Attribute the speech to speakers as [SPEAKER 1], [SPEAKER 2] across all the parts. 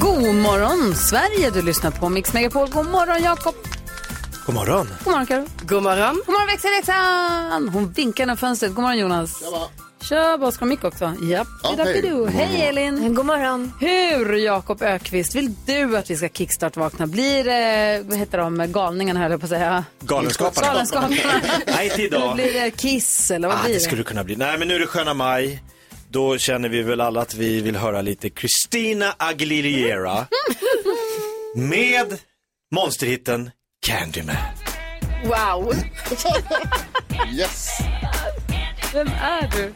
[SPEAKER 1] God morgon Sverige, du lyssnar på Mix Megapol. God morgon Jakob.
[SPEAKER 2] God morgon.
[SPEAKER 1] God morgon Karo.
[SPEAKER 3] God morgon.
[SPEAKER 1] God morgon växelläxan. Hon vinkar genom fönstret. God morgon Jonas. Tjaba, Oskar och Mick också. Japp,
[SPEAKER 4] Ja,
[SPEAKER 1] Tidda
[SPEAKER 4] hej.
[SPEAKER 1] Pidoo.
[SPEAKER 4] God morgon.
[SPEAKER 1] Hej Elin. Mm, God morgon. Hur, Jakob Ökvist vill du att vi ska kickstart-vakna? Blir det, vad heter de, galningarna höll jag på att säga.
[SPEAKER 2] Galenskaparna.
[SPEAKER 1] Galenskaparna.
[SPEAKER 2] Nej, inte
[SPEAKER 1] Eller
[SPEAKER 2] idag.
[SPEAKER 1] blir det Kiss eller vad
[SPEAKER 2] Ah,
[SPEAKER 1] blir
[SPEAKER 2] det skulle kunna bli. Nej, men nu är det sköna maj. Då känner vi väl alla att vi vill höra lite Christina Aguilera med monsterhitten Candyman.
[SPEAKER 3] Wow.
[SPEAKER 4] Yes!
[SPEAKER 1] Vem är du?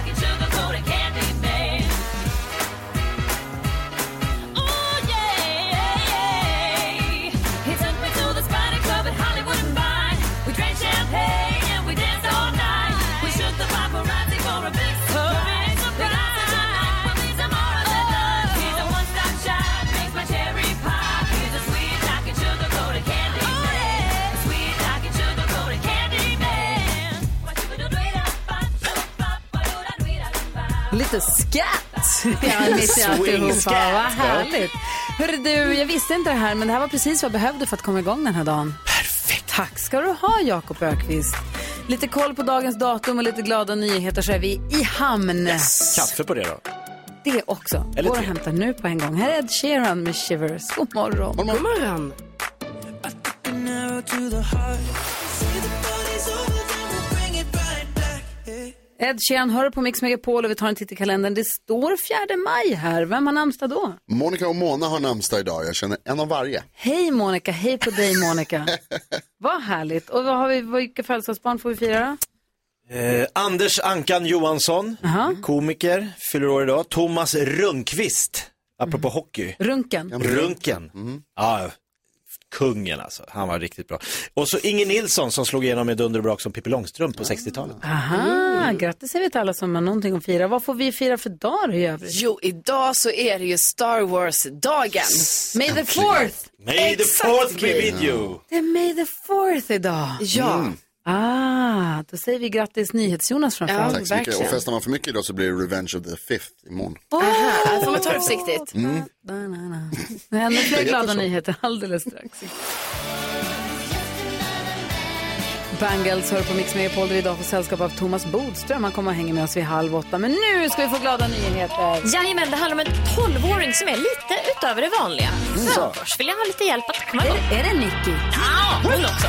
[SPEAKER 5] Oh, Champagne and we danced all night. We shook the paparazzi for a big surprise.
[SPEAKER 1] Lite skatt. Ja, mitt i alltihopa.
[SPEAKER 5] Swing-skatt,
[SPEAKER 1] Vad
[SPEAKER 5] ja.
[SPEAKER 1] härligt. Hörru du, jag visste inte det här, men det här var precis vad jag behövde för att komma igång den här dagen. Perfekt. Tack ska du ha, Jakob Ökvist. Lite koll på dagens datum och lite glada nyheter så är vi i hamn.
[SPEAKER 2] Kaffe på det då.
[SPEAKER 1] Det också.
[SPEAKER 2] Eller
[SPEAKER 1] Går och
[SPEAKER 2] te.
[SPEAKER 1] hämtar nu på en gång. Här är Ed Sheeran med Shivers. God morgon.
[SPEAKER 3] God morgon.
[SPEAKER 1] Ed Sheeran hör på Mix Megapol och vi tar en titt i kalendern. Det står 4 maj här. Vem har namnsdag då?
[SPEAKER 4] Monica och Mona har namnsdag idag. Jag känner en av varje.
[SPEAKER 1] Hej Monica, hej på dig Monica. vad härligt. Och vad har vi, vilka födelsedagsbarn får vi fira då?
[SPEAKER 2] Eh, Anders Ankan Johansson, komiker, fyller år idag. Thomas Rundqvist,
[SPEAKER 1] Mm.
[SPEAKER 2] apropå hockey.
[SPEAKER 1] Runken.
[SPEAKER 2] Runken. Ja, kungen alltså. Han var riktigt bra. Och så Inge Nilsson som slog igenom med Dunder och brak som Pippi Långstrump på 60-talet.
[SPEAKER 1] Aha, grattis säger vi till alla som har någonting att fira. Vad får vi fira för dag i övrigt?
[SPEAKER 3] Jo, idag så är det ju Star Wars-dagen.
[SPEAKER 1] May the fourth!
[SPEAKER 2] May the fourth be with you.
[SPEAKER 1] Det är May the fourth idag. Mm.
[SPEAKER 3] Ja,
[SPEAKER 1] Ah, då säger vi grattis NyhetsJonas framförallt.
[SPEAKER 3] Ja.
[SPEAKER 4] Tack så mycket.
[SPEAKER 3] verkligen.
[SPEAKER 4] Och festar man för mycket idag så blir det Revenge of the Fifth imorgon. Mm.
[SPEAKER 3] Aha, här får Alltså, man ta det försiktigt.
[SPEAKER 1] Da-na-na. Ännu fler glada nyheter alldeles strax. Bangles hör på Mix Megapol där vi idag får sällskap av Thomas Bodström. Han kommer och hänger med oss vid halv åtta. Men nu ska vi få glada nyheter.
[SPEAKER 5] Jajamän, det handlar om en 12-åring som är lite utöver det vanliga. Så först vill jag ha lite hjälp att komma igång.
[SPEAKER 1] Mm. Är det Nicky? Mm.
[SPEAKER 5] Ja, hon också.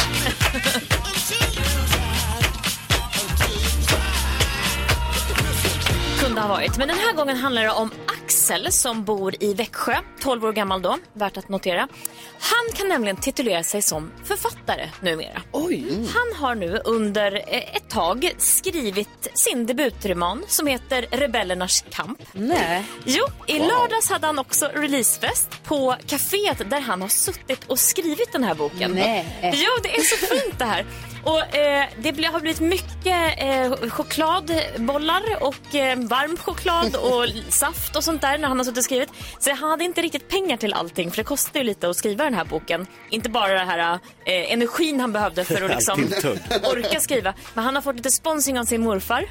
[SPEAKER 5] Kunde ha varit. Men den här gången handlar det om Axel som bor i Växjö, 12 år gammal då, värt att notera. Han kan nämligen titulera sig som författare numera. Mm. Han har nu under eh, ett tag skrivit sin debutroman som heter Rebellernas kamp.
[SPEAKER 1] Nej.
[SPEAKER 5] Jo, i lördags hade han också releasefest på kaféet där han har suttit och skrivit den här boken.
[SPEAKER 1] Nej.
[SPEAKER 5] Jo, det är så fint det här. Och eh, det blir- har blivit mycket eh, chokladbollar och eh, varm choklad och saft och sånt där när han har suttit och skrivit. Så han hade inte riktigt pengar till allting för det kostar ju lite att skriva den här boken. Inte bara den här eh, energin han behövde för att liksom
[SPEAKER 2] Alltid tungt.
[SPEAKER 5] orka skriva. Men han har fått lite sponsring av sin morfar.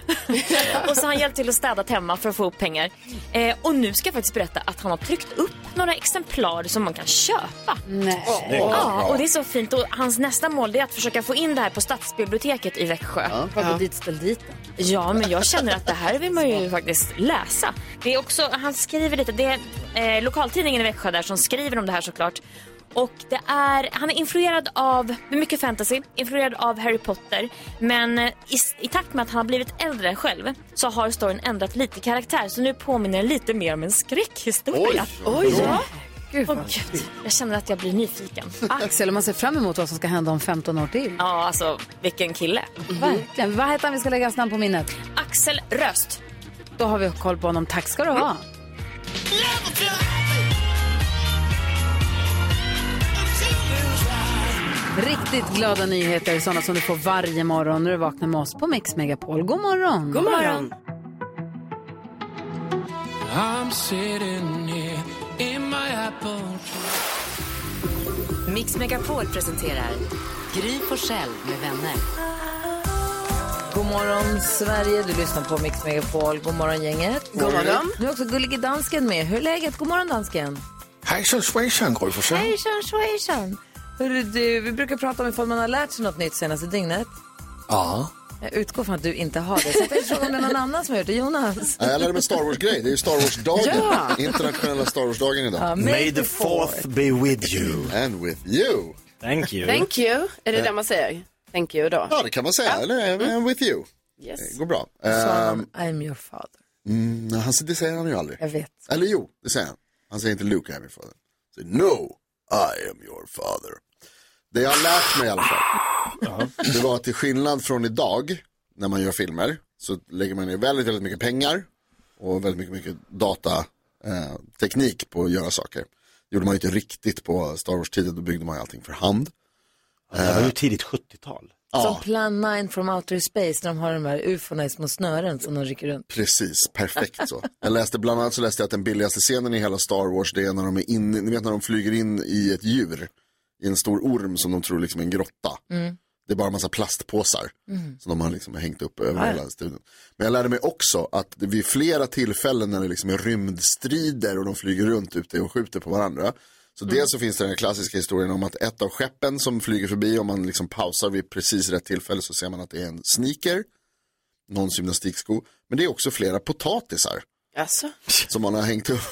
[SPEAKER 5] och så har han hjälpt till att städa hemma för att få upp pengar. Eh, och nu ska jag faktiskt berätta att han har tryckt upp några exemplar som man kan köpa.
[SPEAKER 1] Nej.
[SPEAKER 5] Ja, och det är så fint. Och hans nästa mål det är att försöka få in det här på stadsbiblioteket i Växjö. Ja.
[SPEAKER 1] Har gått dit ställ dit den.
[SPEAKER 5] men jag känner att det här vill man ju faktiskt läsa. Det är också, han skriver lite, det är eh, lokaltidningen i Växjö där som skriver om det här såklart. Och det är, han är influerad av mycket fantasy, influerad av Harry Potter. Men eh, i, i takt med att han har blivit äldre själv så har storyn ändrat lite karaktär. Så nu påminner den lite mer om en skräckhistoria.
[SPEAKER 4] Oj,
[SPEAKER 5] ja.
[SPEAKER 6] Gud,
[SPEAKER 5] Åh
[SPEAKER 6] vad-
[SPEAKER 5] gud, jag känner att jag blir nyfiken.
[SPEAKER 6] Axel, om man ser fram emot vad som ska hända om 15 år till.
[SPEAKER 5] Ja, alltså vilken kille.
[SPEAKER 1] Mm.
[SPEAKER 6] Verkligen. Vad heter han vi ska lägga hans namn på minnet?
[SPEAKER 5] Axel Röst.
[SPEAKER 6] Då har vi koll på honom. Tack ska du ha. Riktigt glada nyheter, sådana som du får varje morgon när du vaknar med oss på Mix Megapol. God morgon! God morgon!
[SPEAKER 7] Mix Megapol presenterar Gry Forssell med vänner.
[SPEAKER 1] God morgon Sverige, du lyssnar på Mix Megapol. God morgon gänget. God morgon. Nu är också gullige dansken med. Hur är läget? God morgon dansken.
[SPEAKER 8] Hejsan svejsan, Gry Forssell.
[SPEAKER 1] Hejsan svejsan. Hörru du, vi brukar prata om ifall man har lärt sig något nytt senaste dygnet.
[SPEAKER 8] Ja.
[SPEAKER 1] Jag utgår från att du inte har det. Så jag tänkte fråga om det är någon annan som har gjort det. Jonas?
[SPEAKER 4] Nej, Jag lärde mig Star Wars-grej. Det är ju Star Wars-dagen.
[SPEAKER 1] Ja.
[SPEAKER 4] Internationella Star Wars-dagen idag.
[SPEAKER 1] Ja,
[SPEAKER 2] May the fourth be with you.
[SPEAKER 4] And with you.
[SPEAKER 2] Thank you.
[SPEAKER 3] Thank you. Är det det man säger? Thank you då.
[SPEAKER 4] Ja, det kan man säga. Eller and with you.
[SPEAKER 3] Yes.
[SPEAKER 4] Det går bra.
[SPEAKER 1] Sa
[SPEAKER 4] Ehm,
[SPEAKER 1] han, I'm your father.
[SPEAKER 4] mm, han, det säger han ju aldrig.
[SPEAKER 1] Jag vet.
[SPEAKER 4] Eller jo, det säger han. Han säger inte Luke, I'm your father. Han säger No, I am your father. Det jag har lärt mig i alla fall, det var att till skillnad från idag, när man gör filmer, så lägger man ner väldigt, väldigt mycket pengar och väldigt mycket, mycket datateknik eh, teknik på att göra saker. Det gjorde man ju inte riktigt på Star Wars-tiden, då byggde man ju allting för hand. Eh,
[SPEAKER 2] Det här var ju tidigt 70-tal.
[SPEAKER 1] Som Plan 9 from Outer Space när de har de här ufona i små snören som de rycker runt.
[SPEAKER 4] Precis, perfekt så. Jag läste bland annat så läste jag att den billigaste scenen i hela Star Wars det är när de är in, ni vet när de flyger in i ett djur, i en stor orm som de tror liksom är en grotta.
[SPEAKER 1] Mm.
[SPEAKER 4] Det är bara en massa plastpåsar
[SPEAKER 8] Mm.
[SPEAKER 4] som de har liksom hängt upp över hela studion. Men jag lärde mig också att det vid flera tillfällen när det liksom är rymdstrider och de flyger runt ute och skjuter på varandra. Så dels så finns det den här klassiska historien om att ett av skeppen som flyger förbi, om man liksom pausar vid precis rätt tillfälle så ser man att det är en sneaker någons gymnastiksko. Men det är också flera potatisar
[SPEAKER 3] Alltså.
[SPEAKER 4] som man har hängt upp.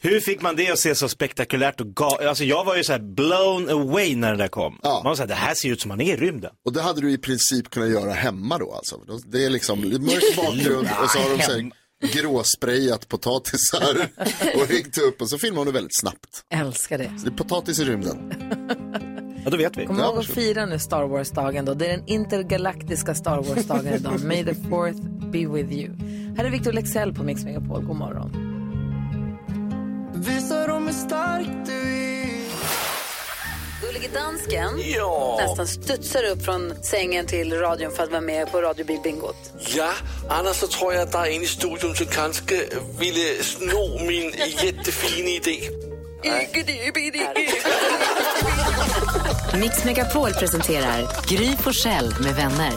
[SPEAKER 2] Hur fick man det att se så spektakulärt och ga- Alltså jag var ju så här blown away när det där kom.
[SPEAKER 4] Ja.
[SPEAKER 2] Man var så här, det här ser ut som man är i rymden.
[SPEAKER 4] Och det hade du i princip kunnat göra hemma då alltså. Det är liksom mörk bakgrund och så har de så här gråsprayat potatisar och hängt upp och så filmar de väldigt snabbt.
[SPEAKER 1] Älskar det.
[SPEAKER 4] Så det är potatis i rymden.
[SPEAKER 2] Ja, då vet vi.
[SPEAKER 1] Kom
[SPEAKER 4] Ja,
[SPEAKER 1] ihåg att
[SPEAKER 4] varsågod.
[SPEAKER 1] fira nu Star Wars-dagen då. Det är den intergalaktiska Star Wars-dagen idag. May the fourth be with you. Här är Victor Lexell på Mix Megapol. God morgon.
[SPEAKER 9] Visa dem hur stark du är.
[SPEAKER 6] Gullige dansken nästan studsar upp från sängen till radion för att vara med på radiobilbingot.
[SPEAKER 8] Ja, annars så tror jag att det är en i studion som kanske ville sno min jättefina idé.
[SPEAKER 7] Mix Megapol presenterar Gry Forssell med vänner.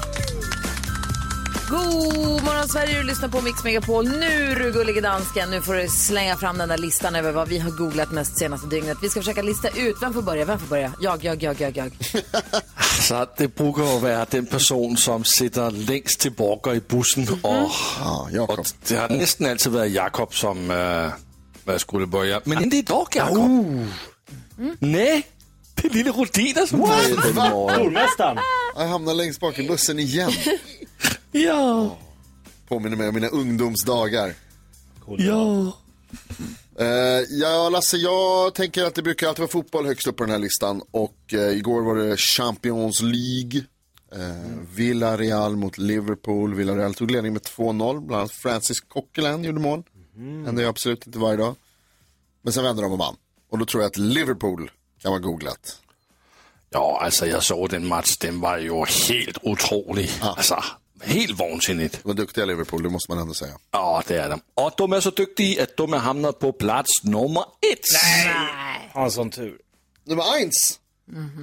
[SPEAKER 1] God morgon Sverige, du lyssnar på Mix Megapol. Nu du gullige dansken, nu får du slänga fram den där listan över vad vi har googlat mest senaste dygnet. Vi ska försöka lista ut, vem får börja, vem får börja? Jag, jag, jag, jag, jag.
[SPEAKER 8] Så det brukar ju vara den person som sitter längst tillbaka i bussen och,
[SPEAKER 4] Ja, Jakob.
[SPEAKER 8] och det har nästan alltid varit Jakob som äh, skulle börja. Men inte idag Jakob.
[SPEAKER 4] Oh.
[SPEAKER 2] Mm.
[SPEAKER 8] Nej, det är lille Rodina som börjar.
[SPEAKER 4] Nej, va?
[SPEAKER 2] Stormästaren.
[SPEAKER 4] Jag hamnar längst bak i bussen igen.
[SPEAKER 8] Ja,
[SPEAKER 4] Påminner mig om mina ungdomsdagar.
[SPEAKER 8] ja.
[SPEAKER 4] Eh, ja, Lasse, jag tänker att det brukar alltid vara fotboll högst upp på den här listan. Och eh, igår var det Champions League. Eh, Villarreal mot Liverpool. Villarreal tog ledning med 2-0. Bland annat Francis Coquelin gjorde mål. Händer ju absolut inte varje dag. Men sen vände de och vann. Och då tror jag att Liverpool kan vara googlat.
[SPEAKER 8] Ja, altså jeg så den match, den var jo helt utrolig. Altså, helt vansinnigt.
[SPEAKER 4] De var duktiga Liverpool, det måste man ändå säga.
[SPEAKER 8] Ja, det er dem. Og de er så dygtige, at de er hamnet på plads nummer et.
[SPEAKER 2] Har en sån tur.
[SPEAKER 4] Nummer eins!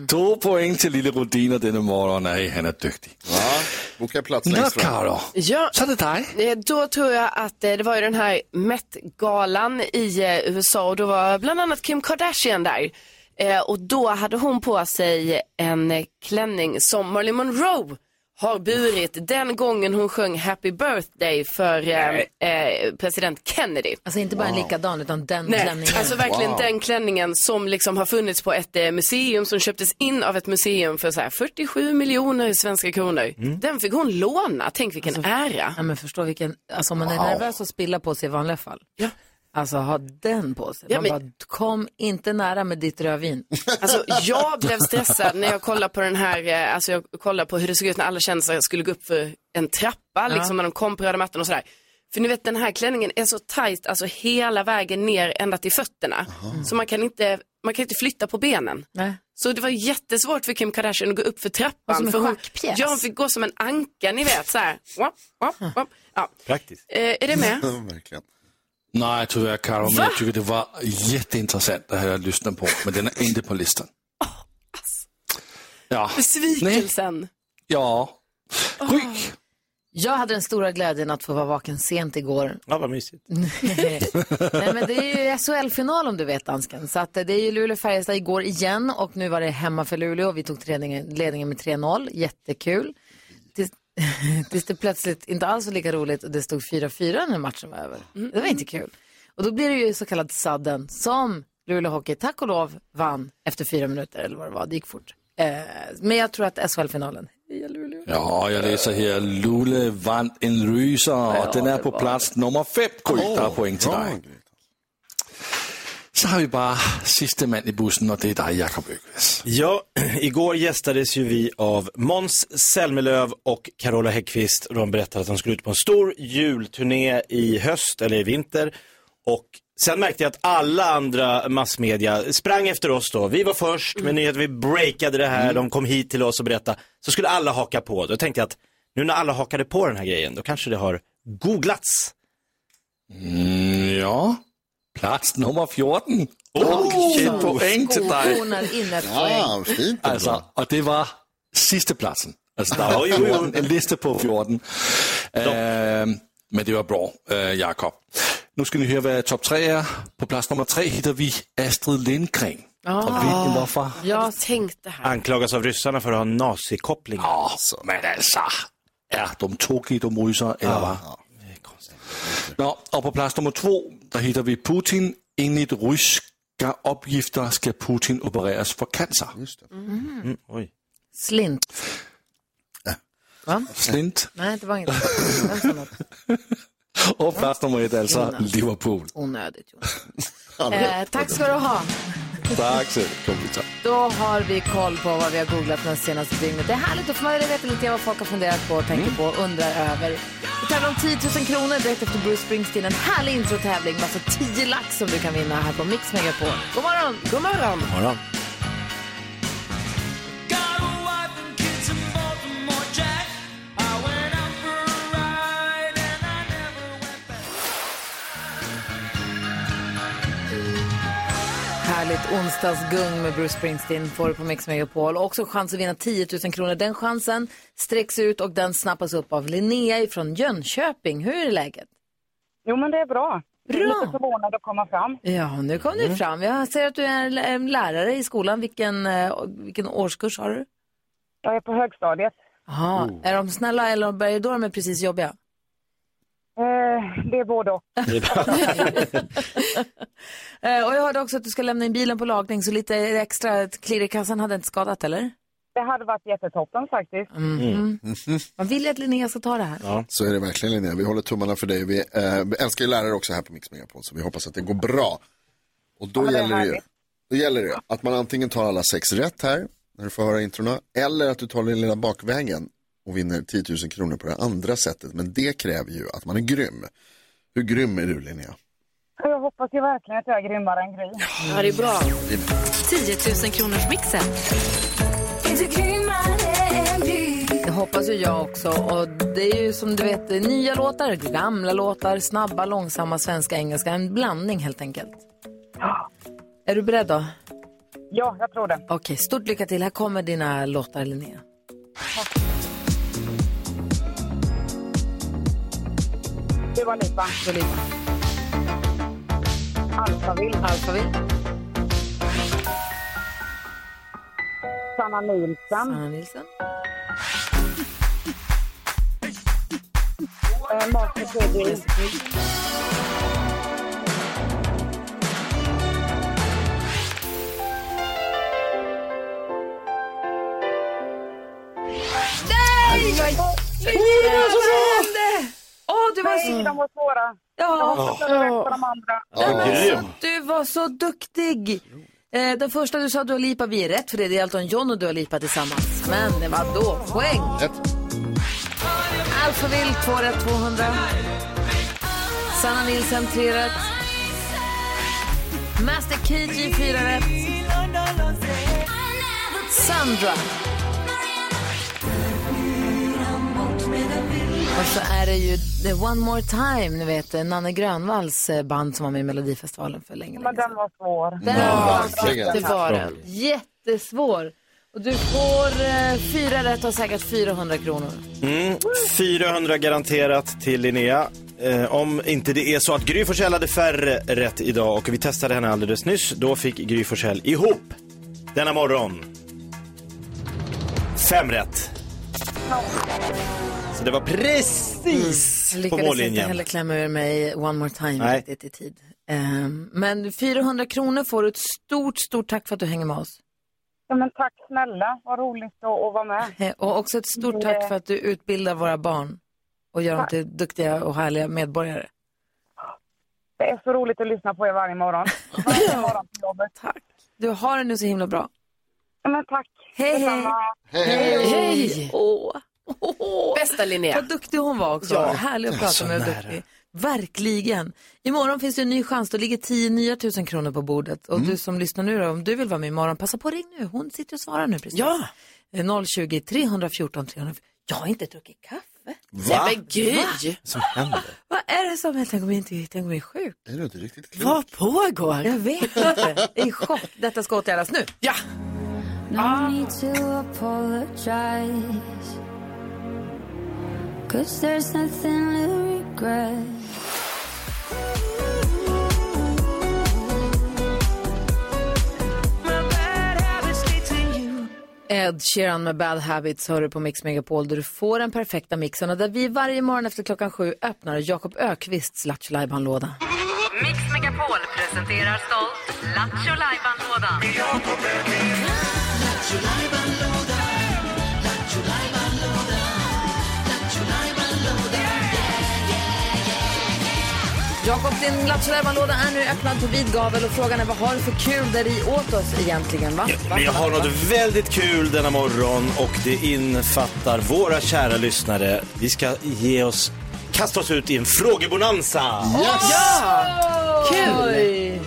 [SPEAKER 8] To point til lille Rudiner denne morgen. Nej, han er dygtig.
[SPEAKER 4] Ja, boka plats
[SPEAKER 8] Nå,
[SPEAKER 4] längst fram.
[SPEAKER 8] Karo.
[SPEAKER 3] Ja,
[SPEAKER 8] Så er det dig.
[SPEAKER 3] Eh, Då tror jag att eh, det var ju den här Met-galan i eh, USA och då var bland annat Kim Kardashian där. Eh, Och då hade hon på sig en eh, klänning som Marilyn Monroe har burit den gången hon sjöng Happy birthday för eh, eh, president Kennedy.
[SPEAKER 1] Alltså inte bara en likadan utan den
[SPEAKER 3] Nej,
[SPEAKER 1] klänningen.
[SPEAKER 3] alltså verkligen den klänningen som liksom har funnits på ett eh, museum som köptes in av ett museum för så här 47 miljoner svenska kronor. Den fick hon låna, tänk vilken ära.
[SPEAKER 1] Alltså, Ja, men förstå vilken, alltså om man är
[SPEAKER 3] Wow.
[SPEAKER 1] nervös och spilla på sig i vanliga fall. Ja. Alltså ha den på sig.
[SPEAKER 3] Ja,
[SPEAKER 1] Man
[SPEAKER 3] men-
[SPEAKER 1] bara, kom inte nära med ditt rödvin.
[SPEAKER 3] Alltså jag blev stressad när jag kollade på den här, eh, alltså jag kollade på hur det såg ut när alla kändisar skulle gå upp för en trappa, liksom när de kom på röda mattan och sådär. För ni vet den här klänningen är så tajt, alltså hela vägen ner ända till fötterna. Så man kan, inte, man kan inte flytta på benen.
[SPEAKER 1] Nej.
[SPEAKER 3] Så det var jättesvårt för Kim Kardashian att gå upp för trappan.
[SPEAKER 1] Som en
[SPEAKER 3] för hon,
[SPEAKER 1] schackpjäs.
[SPEAKER 3] ja, hon fick gå som en anka, ni vet så här. Wap, wap, wap. Ja.
[SPEAKER 2] Praktiskt.
[SPEAKER 3] Eh, är det med?
[SPEAKER 4] Verkligen.
[SPEAKER 8] Nej, tyvärr Karo, men
[SPEAKER 3] Va?
[SPEAKER 8] jag tycker det var jätteintressant att höra lyssna på, men den är inte på listan.
[SPEAKER 3] alltså.
[SPEAKER 8] Ja.
[SPEAKER 3] Besvikelsen.
[SPEAKER 8] Ja.
[SPEAKER 1] Jag hade den stora glädjen att få vara vaken sent igår.
[SPEAKER 2] Ja, vad mysigt.
[SPEAKER 1] Nej, men det är ju SHL-final om du vet dansken. Så att eh, det är ju Luleå-Färjestad igår igen och nu var det hemma för Luleå. Vi tog ledningen, ledningen med 3-0, jättekul. Tills, tills det plötsligt inte alls var lika roligt och det stod 4-4 när matchen var över. Det var inte kul. Och då blir det ju så kallad sadden som Luleå Hockey tack och lov vann efter fyra minuter eller vad det var. Det gick fort. Eh, men jag tror att SHL-finalen
[SPEAKER 8] Ja, jag läser här, Luleå vann en ryser och den är på plats nummer fem. Gry,
[SPEAKER 1] Åh,
[SPEAKER 8] där är poäng till
[SPEAKER 1] bra,
[SPEAKER 8] dig. Så har vi bara sista man i bussen och det är dig, Jakob Öqvist.
[SPEAKER 2] Ja, igår gästades ju vi av Måns Zelmerlöw och Carola Häggkvist. De berättade att de skulle ut på en stor julturné i höst eller i vinter. Och sen märkte jag att alla andra massmedia sprang efter oss då. Vi var först med nyheter, vi breakade det här,
[SPEAKER 8] Mm.
[SPEAKER 2] de kom hit till oss och berättade. Så skulle alla haka på. Då tänkte jag att nu när alla hakade på den här grejen, då kanske det har googlats.
[SPEAKER 8] Mm, ja, plats nummer 14.
[SPEAKER 1] Oj,
[SPEAKER 8] en poäng till dig.
[SPEAKER 1] Skokornar in ett poäng.
[SPEAKER 8] Alltså, och det var sista platsen. Alltså, det
[SPEAKER 2] Ja,
[SPEAKER 8] var
[SPEAKER 2] jo, jo.
[SPEAKER 8] 14, en lista på 14. Ehm, men det var bra, eh, Jakob. Nu ska ni höra vad topp tre är. På plats nummer tre hittar vi Astrid Lindgren. Och vet
[SPEAKER 1] Ah.
[SPEAKER 8] ni varför?
[SPEAKER 3] Jag tänkte här.
[SPEAKER 2] Anklagas av ryssarna för att ha nazikopplingar.
[SPEAKER 8] Ja, men alltså, är de tokiga de ryssar eller vad? Nå, och på plats nummer två, där hittar vi Putin. Enligt ryska uppgifter ska Putin opereras för cancer.
[SPEAKER 1] Mm.
[SPEAKER 2] Mm, oj.
[SPEAKER 1] Slint. Va?
[SPEAKER 8] Slint.
[SPEAKER 1] Nej, det var inget. Det var inte något
[SPEAKER 8] Och plats nummer ett alltså,
[SPEAKER 1] Jonas.
[SPEAKER 8] Liverpool.
[SPEAKER 1] Onödigt. Eh, tack ska du ha.
[SPEAKER 8] Tack så mycket. kompisar.
[SPEAKER 1] Då har vi koll på vad vi har googlat den senaste dygnet. Det är härligt att få möjlighet att veta lite vad folk har funderat på, och
[SPEAKER 3] Mm.
[SPEAKER 1] tänker på och undrar över. Vi tävlar om 10 000 kronor direkt efter Bruce Springsteen. En härlig introtävling med alltså 10 lax som du kan vinna här på Mix Megapol. God morgon!
[SPEAKER 3] God morgon!
[SPEAKER 2] Morgon.
[SPEAKER 1] Härligt onsdagsgung med Bruce Springsteen får du på Mix Megapol. Också chans att vinna 10 000 kronor. Den chansen sträcks ut och den snappas upp av Linnea från Jönköping. Hur är läget?
[SPEAKER 10] Jo, men det är bra. Jag är lite förvånad att komma fram.
[SPEAKER 1] Ja, nu kom du fram. Jag ser att du är en- en lärare i skolan. Vilken, eh, vilken årskurs har du?
[SPEAKER 10] Jag är på högstadiet.
[SPEAKER 1] Jaha,
[SPEAKER 10] Oh.
[SPEAKER 1] är de snälla eller de börjar- då är de precis jobbiga?
[SPEAKER 10] Eh, det är både och.
[SPEAKER 1] Eh, och jag hörde också att du ska lämna in bilen på lagning, så lite extra klirr i kassan hade inte skadat, eller?
[SPEAKER 10] Det hade varit jättetoppen faktiskt.
[SPEAKER 1] Mm. Man vill ju att Linnea ska ta det här.
[SPEAKER 4] Mm-hmm. Så är det verkligen Linnea. Vi håller tummarna för dig. Vi, eh, vi älskar ju lärare också här på Mix Megapol så vi hoppas att det går bra. Och då
[SPEAKER 10] Ja, men det är
[SPEAKER 4] gäller det ju
[SPEAKER 10] härligt.
[SPEAKER 4] då gäller det ju att man antingen tar alla sex rätt här när du får höra introna eller att du tar den lilla bakvägen och vinner 10 000 kronor på det andra sättet. Men det kräver ju att man är grym. Hur grym är du Linnea?
[SPEAKER 10] Och Jag hoppas ju verkligen att jag är grymmare än Gry.
[SPEAKER 3] Ja, det är bra.
[SPEAKER 2] Mm.
[SPEAKER 7] 10 000 kronors mixen.
[SPEAKER 1] Det hoppas ju jag också. Och det är ju som du vet, nya låtar, gamla låtar, snabba, långsamma, svenska, engelska. En blandning helt enkelt. Är du beredd då?
[SPEAKER 10] Ja, jag tror det.
[SPEAKER 1] Okej, stort lycka till. Här kommer dina låtar, Linnea.
[SPEAKER 10] Du var Lipa.
[SPEAKER 1] Dua Lipa.
[SPEAKER 10] Alphaville.
[SPEAKER 1] Alphaville.
[SPEAKER 10] Sanna Nilsson.
[SPEAKER 1] Sanna Nilsson.
[SPEAKER 10] eh, maken pudding.
[SPEAKER 6] Nej! Vad hände? Åh, du var
[SPEAKER 10] Nej, de
[SPEAKER 6] så...
[SPEAKER 10] var svåra.
[SPEAKER 6] Ja.
[SPEAKER 10] Jag måste ta rätt på de andra.
[SPEAKER 6] Nej, men
[SPEAKER 10] Ja.
[SPEAKER 6] alltså, du var så duktig. Eh, den första du sa Dua Lipa, vi är rätt för det. Det är Elton John och Dua Lipa tillsammans. Men det var då poäng. Alphaville, 2 rätt 200. Sanna Nilsson, 3 rätt. Master KG, 4 rätt. Sandra.
[SPEAKER 1] Och så är det ju The One More Time, ni vet Nanne Grönvalls eh, band som var med i Melodifestivalen för länge, länge
[SPEAKER 10] Men den var svår.
[SPEAKER 1] Den var svår. Det var den. Jättesvår. Och du får eh, fyra rätt och säkert 400 kronor.
[SPEAKER 2] Mm, 400 garanterat till Linnea. Eh, om inte det är så att Gry Forssell hade färre rätt idag och vi testade henne alldeles nyss, då fick Gry Forssell ihop denna morgon. Fem rätt. Så det var precis
[SPEAKER 1] Jag
[SPEAKER 2] på
[SPEAKER 1] Mm, lyckades inte
[SPEAKER 2] mållinjen.
[SPEAKER 1] heller klämma ur mig One More Time
[SPEAKER 2] Nej.
[SPEAKER 1] riktigt i tid. Ehm, men 400 kronor får du ett stort, stort tack för att du hänger med oss.
[SPEAKER 10] Ja, men tack snälla, vad roligt att, att vara med.
[SPEAKER 1] Eh, Och också ett stort tack för att du utbildar våra barn och gör dem
[SPEAKER 10] Tack.
[SPEAKER 1] till duktiga och härliga medborgare.
[SPEAKER 10] Det är så roligt att lyssna på er varje morgon. Varje morgon på jobbet.
[SPEAKER 1] Tack. Du har det nu så himla bra.
[SPEAKER 10] Ja, men tack.
[SPEAKER 1] Hej, hej.
[SPEAKER 10] Hej.
[SPEAKER 1] Hej! Åh. Åh.
[SPEAKER 3] Bästa Linnea.
[SPEAKER 1] Vad duktig hon var också.
[SPEAKER 3] Ja.
[SPEAKER 1] Härlig att
[SPEAKER 3] Det var
[SPEAKER 1] prata
[SPEAKER 3] så
[SPEAKER 1] med och
[SPEAKER 3] nära.
[SPEAKER 1] duktig. Verkligen. Imorgon finns det en ny chans. Då ligger 10 nya tusen kronor på bordet. Och
[SPEAKER 3] Mm.
[SPEAKER 1] du som lyssnar nu då, om du vill vara med imorgon, passa på ring nu. Hon sitter och svarar nu precis. Eh, Ja. 020 314 314. Jag har inte druckit kaffe.
[SPEAKER 3] Va? Nej, men Gry.
[SPEAKER 1] Va?
[SPEAKER 2] som händer?
[SPEAKER 1] Vad är det som händer? Tänk om jag inte tänk om jag är sjuk.
[SPEAKER 4] Är du inte riktigt klok?
[SPEAKER 1] Vad pågår? Jag vet inte. Jag är i chock. Detta ska åtgärdas nu. Ja.
[SPEAKER 11] No need to apologize. Cause there's nothing to regret.
[SPEAKER 1] Ed Sheeran med Bad Habits hör du på Mix Megapol där du får den perfekta mixen och där vi varje morgon efter klockan sju öppnar Jakob Ökvists Lattjo Lajban-låda.
[SPEAKER 7] Mix Megapol presenterar stolt Lattjo Lajban-lådan.
[SPEAKER 1] Jakob, din Lattjo Lajban-låda är nu öppnad på vid gavel och frågan är vad har du för kul där i åt oss egentligen? Va? Va?
[SPEAKER 2] Vi har något väldigt kul denna morgon och det innefattar våra kära lyssnare. Vi ska ge oss, kasta oss ut i en frågebonanza.
[SPEAKER 1] Ja! Kul!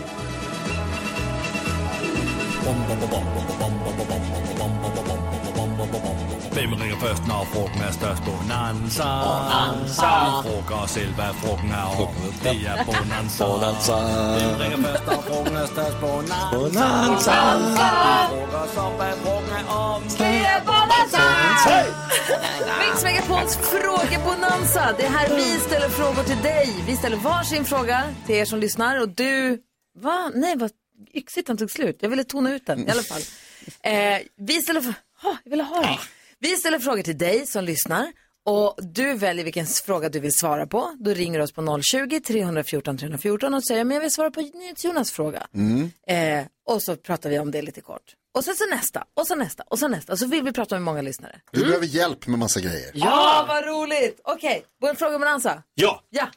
[SPEAKER 12] Hvem ringer først, når frugten er størst? Bonanza.
[SPEAKER 13] Bonanza.
[SPEAKER 12] Frugger selv, hvad frugten er om. Det er bonanza.
[SPEAKER 13] Bonanza.
[SPEAKER 12] Hvem ringer først, når frugten er størst? Bonanza.
[SPEAKER 13] Bonanza.
[SPEAKER 12] Frugger som hvad frugten er om.
[SPEAKER 1] Mix Megapols frågebonanza. Det är här vi ställer frågor till dig. Vi ställer varsin fråga till er som lyssnar och du... Va? Nej, vad yxigt den tog slut. Jag ville tona ut den i alla fall. Eh, vi ställer... fr- Ha, jag ville ha den. Vi ställer frågor till dig som lyssnar och du väljer vilken s- fråga du vill svara på. Då ringer du oss på 020-314 314 och säger men jag vill svara på NyhetsJonas fråga.
[SPEAKER 13] Mm.
[SPEAKER 1] Eh, och så pratar vi om det lite kort. Och sen så nästa, och så nästa, och så nästa. Och så vill vi prata med många lyssnare.
[SPEAKER 4] Du behöver hjälp med massa grejer.
[SPEAKER 1] Ja, vad roligt! Okej, okay. en fråga om Ansa.
[SPEAKER 2] Ja.
[SPEAKER 1] Ja,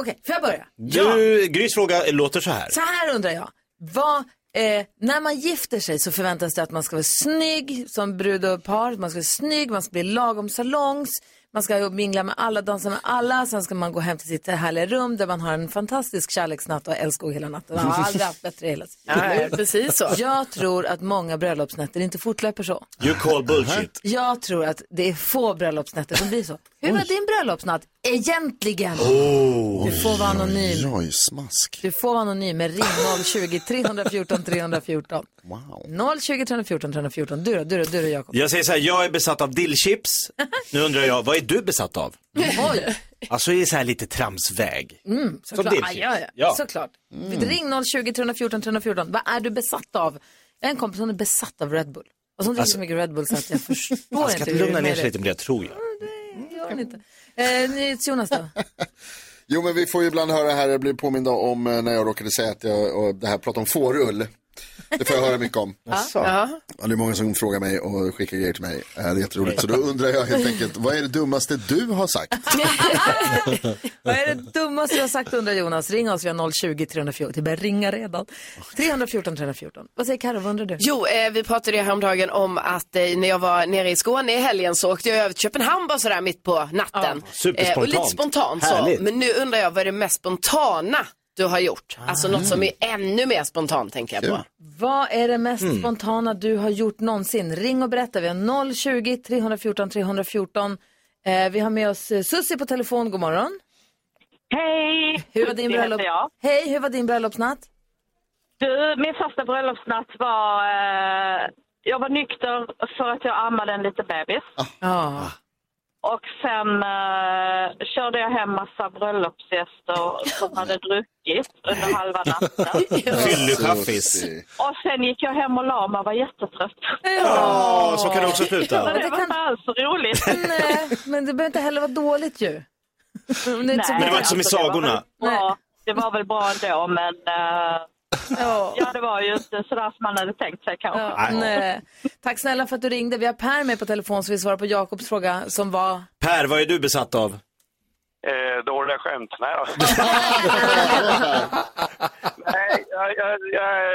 [SPEAKER 1] okej, får jag börja?
[SPEAKER 2] Du, Grys fråga låter så här.
[SPEAKER 1] Så här undrar jag. Vad, eh, när man gifter sig så förväntas det att man ska vara snygg som brud och par. Man ska vara snygg, man ska bli lagom salongs. Man ska mingla med alla, dansa med alla. Sen ska man gå hem till sitt härliga rum där man har en fantastisk kärleksnatt och älskog hela natten. Man har aldrig haft bättre i hela sitt liv.
[SPEAKER 3] Nej, precis så.
[SPEAKER 1] Jag tror att många bröllopsnätter inte fortlöper så.
[SPEAKER 2] You call bullshit.
[SPEAKER 1] Jag tror att det är få bröllopsnätter som blir så. Hur var din bröllopsnatt egentligen?
[SPEAKER 4] Oh.
[SPEAKER 1] Du får vara anonym.
[SPEAKER 4] Oj, oj, smask.
[SPEAKER 1] Du får vara anonym med ring 020 314 314. Wow. 020 314 314. Du då, du då, du då Jakob.
[SPEAKER 2] Jag säger så här, jag är besatt av dillchips. Nu undrar jag, vad är du besatt av?
[SPEAKER 1] Oj.
[SPEAKER 2] Alltså det är så här lite tramsväg.
[SPEAKER 1] Mm,
[SPEAKER 2] Som
[SPEAKER 1] såklart.
[SPEAKER 2] dillchips.
[SPEAKER 1] Ah, ja, ja.
[SPEAKER 2] Ja.
[SPEAKER 1] såklart.
[SPEAKER 2] Mm.
[SPEAKER 1] Ring 020 314 314. Vad är du besatt av? Jag har en kompis som är besatt av Red Bull. Och som dricker
[SPEAKER 2] Alltså-
[SPEAKER 1] så mycket Red Bull så att jag förstår
[SPEAKER 2] Jag
[SPEAKER 1] inte
[SPEAKER 2] ska
[SPEAKER 1] hur det
[SPEAKER 2] lugna
[SPEAKER 1] är
[SPEAKER 2] ner
[SPEAKER 1] med
[SPEAKER 2] sig
[SPEAKER 1] det.
[SPEAKER 2] lite med det, tror jag.
[SPEAKER 6] det gör hon inte. Eh, NyhetsJonas då?
[SPEAKER 4] Jo, men vi får ju ibland höra här, jag blir påminna om eh, när jag råkade säga att jag, och det här pratade om fårull. Det får jag höra mycket om.
[SPEAKER 6] Ja.
[SPEAKER 4] Ja, det är många som frågar mig och skickar grejer till mig. Eh, Det är jätteroligt. Så då undrar jag helt enkelt, vad är det dummaste du har sagt?
[SPEAKER 1] Vad är det dummaste du har sagt undrar Jonas? Ring oss, vi har 020 314. Det börjar ringa redan. 314 314. Vad säger Carro, vad undrar du?
[SPEAKER 3] Jo, eh, vi pratade ju häromdagen om att eh, när jag var nere i Skåne i helgen så åkte jag över till Köpenhamn bara sådär mitt på natten. Eh,
[SPEAKER 2] superspontant.
[SPEAKER 3] och lite spontant
[SPEAKER 2] Härligt.
[SPEAKER 3] så. Men nu undrar jag, vad är det mest spontana du har gjort? Alltså
[SPEAKER 2] Ah.
[SPEAKER 3] något som är ännu mer spontant tänker jag på.
[SPEAKER 1] Vad är det mest
[SPEAKER 3] Mm.
[SPEAKER 1] spontana du har gjort någonsin? Ring och berätta. Vi har 020 314 314. Eh, vi har med oss eh, Susie på telefon. God morgon.
[SPEAKER 13] Hej!
[SPEAKER 1] Hur var din
[SPEAKER 13] Susie
[SPEAKER 1] bröllop...
[SPEAKER 13] heter jag.
[SPEAKER 1] Hej, hur var din bröllopsnatt?
[SPEAKER 13] Du, min första bröllopsnatt var... Eh, jag var nykter för att jag ammade en liten bebis.
[SPEAKER 1] Ja.
[SPEAKER 13] Och sen eh, körde jag hem massa bröllopsgäster som hade druckit under halva natten.
[SPEAKER 2] Fyllechaffis.
[SPEAKER 13] Och sen gick jag hem och la mig och var jättetrött.
[SPEAKER 2] Ja, så kan det också sluta.
[SPEAKER 13] Men det var inte alls roligt.
[SPEAKER 1] Nej, men det behöver inte heller vara dåligt ju. Men
[SPEAKER 13] Nej,
[SPEAKER 2] Men det var inte som i
[SPEAKER 13] alltså, var väl
[SPEAKER 2] sagorna.
[SPEAKER 13] bra. Det var väl bra ändå, men... eh, Ja, det var ju inte sådär som man hade tänkt sig kanske.
[SPEAKER 1] Ja, nej. Tack snälla för att du ringde. Vi har Per med på telefon så vi svarar på Jakobs fråga som var...
[SPEAKER 2] Per, vad är du besatt av?
[SPEAKER 14] Eh, dåliga skämt. Nej, då. Nej jag, jag,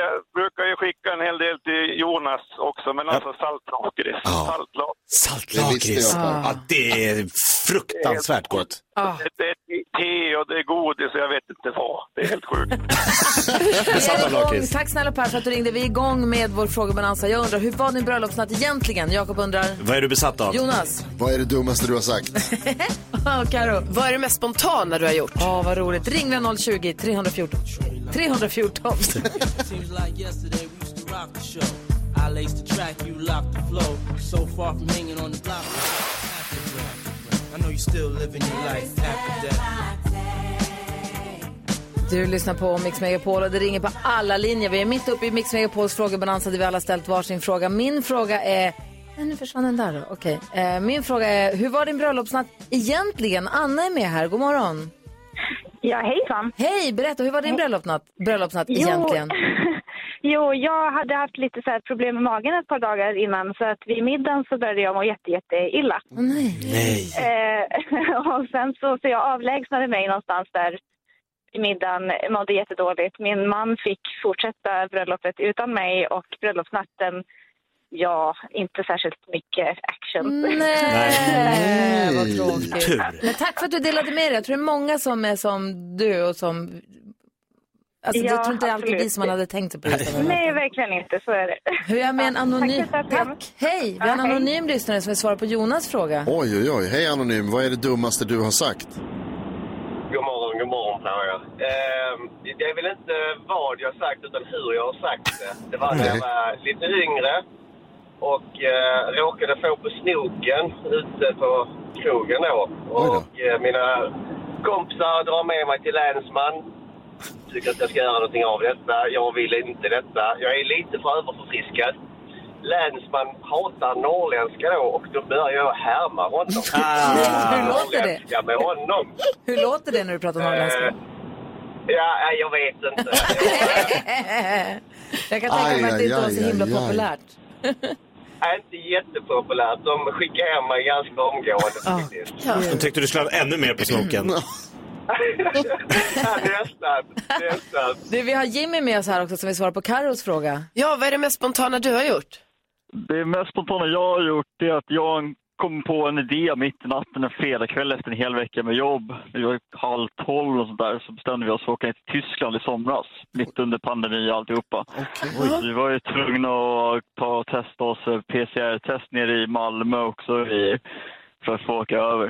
[SPEAKER 14] jag brukar ju skicka en hel del till Jonas också, men alltså saltlakrits. Saltlakrits.
[SPEAKER 2] Saltlakrits. Ja, det är fruktansvärt gott.
[SPEAKER 14] Det, det är te och det är godis och jag vet inte vad. Det är helt sjukt.
[SPEAKER 2] Besatt av
[SPEAKER 1] Igång.
[SPEAKER 2] lakrits.
[SPEAKER 1] Tack snälla Per för att du ringde. Vi är igång med vår frågebalans. Jag undrar, hur var din bröllopsnatt egentligen? Jakob undrar.
[SPEAKER 2] Vad är du besatt av?
[SPEAKER 1] Jonas.
[SPEAKER 4] Vad är det dummaste du har sagt?
[SPEAKER 1] Och Karo.
[SPEAKER 3] Vad är det mest spontana du har gjort?
[SPEAKER 1] Ja, vad roligt. Ring via 020 314. 314.
[SPEAKER 15] Seems like yesterday we used to rock the show. I laced the track, you locked the flow. So far from hanging on the block. I know you still living your life after that.
[SPEAKER 1] Du lyssnar på Mix Megapol och det ringer på alla linjer. Vi är mitt uppe i Mix Megapols frågebalans där vi alla ställt varsin fråga. Min fråga är... Nej, nu försvann den där då. Okej. Eh, min fråga är, hur var din bröllopsnatt egentligen? Anna är med här. God morgon.
[SPEAKER 16] Ja, hejsan.
[SPEAKER 1] Hej, berätta. Hur var din bröllopsnatt, bröllopsnatt
[SPEAKER 16] Jo.
[SPEAKER 1] egentligen?
[SPEAKER 16] Jo, jag hade haft lite så här problem med magen ett par dagar innan så att vid middagen så började jag må jätte, jätte illa.
[SPEAKER 1] nej.
[SPEAKER 2] Nej.
[SPEAKER 16] Eh, och sen så, så jag avlägsnade mig någonstans där i middagen, mådde jättedåligt. Min man fick fortsätta bröllopet utan mig och bröllopsnatten, ja, inte särskilt mycket action.
[SPEAKER 1] Nej, vad tråkigt.
[SPEAKER 16] Tur.
[SPEAKER 1] Men tack för att du delade med dig. Jag tror det är många som är som du och som... Alltså,
[SPEAKER 16] Ja,
[SPEAKER 1] jag tror inte det är alltid
[SPEAKER 16] absolut.
[SPEAKER 1] vi som man hade tänkt sig på just den här
[SPEAKER 16] Nej, verkligen inte. Så är det.
[SPEAKER 1] Hur är med en anonym...
[SPEAKER 16] Tack,
[SPEAKER 1] Tack. Hej, vi har en anonym lyssnare som vill svara på Jonas fråga.
[SPEAKER 4] Oj, oj, oj. Hej Anonym, vad är det dummaste du har sagt?
[SPEAKER 17] God morgon, god morgon Clara. Eh, det är väl inte vad jag har sagt utan hur jag har sagt det. Det var när jag var lite yngre och eh, råkade få på snoken ute på krogen då. Och eh, mina kompisar drar med mig till länsman. Tycker att jag ska göra någonting av detta. Jag vill inte detta. Jag är lite för överförfriskad. Länsman hatar norrländska då och då börjar jag härma honom. Ah.
[SPEAKER 1] Hur låter det?
[SPEAKER 17] Norrländska med honom.
[SPEAKER 1] Hur låter det när du pratar norrländska?
[SPEAKER 17] Eh, Ja, nej, jag vet inte.
[SPEAKER 1] Jag kan tänka
[SPEAKER 17] aj,
[SPEAKER 1] mig att det inte
[SPEAKER 17] aj,
[SPEAKER 1] var så
[SPEAKER 17] aj,
[SPEAKER 1] himla
[SPEAKER 17] aj.
[SPEAKER 1] populärt.
[SPEAKER 17] Det är inte jättepopulärt. De skickar hem mig ganska omgående faktiskt.
[SPEAKER 2] De tyckte du skulle ha ännu mer på snoken.
[SPEAKER 17] Ja, nästan. Nästan.
[SPEAKER 1] Du, vi har Jimmy med oss här också som vill svara på Carros fråga.
[SPEAKER 3] Ja, vad är det mest spontana du har gjort?
[SPEAKER 18] Det mest spontana jag har gjort är att jag kom på en idé mitt i natten en fredagkväll efter en hel vecka med jobb. Vi var halv tolv och sådär så bestämde vi oss för att åka till Tyskland i somras. Mitt under pandemin och alltihopa. Så Vi var ju tvungna att ta och testa oss för PCR-test nere i Malmö också i, för att få åka över.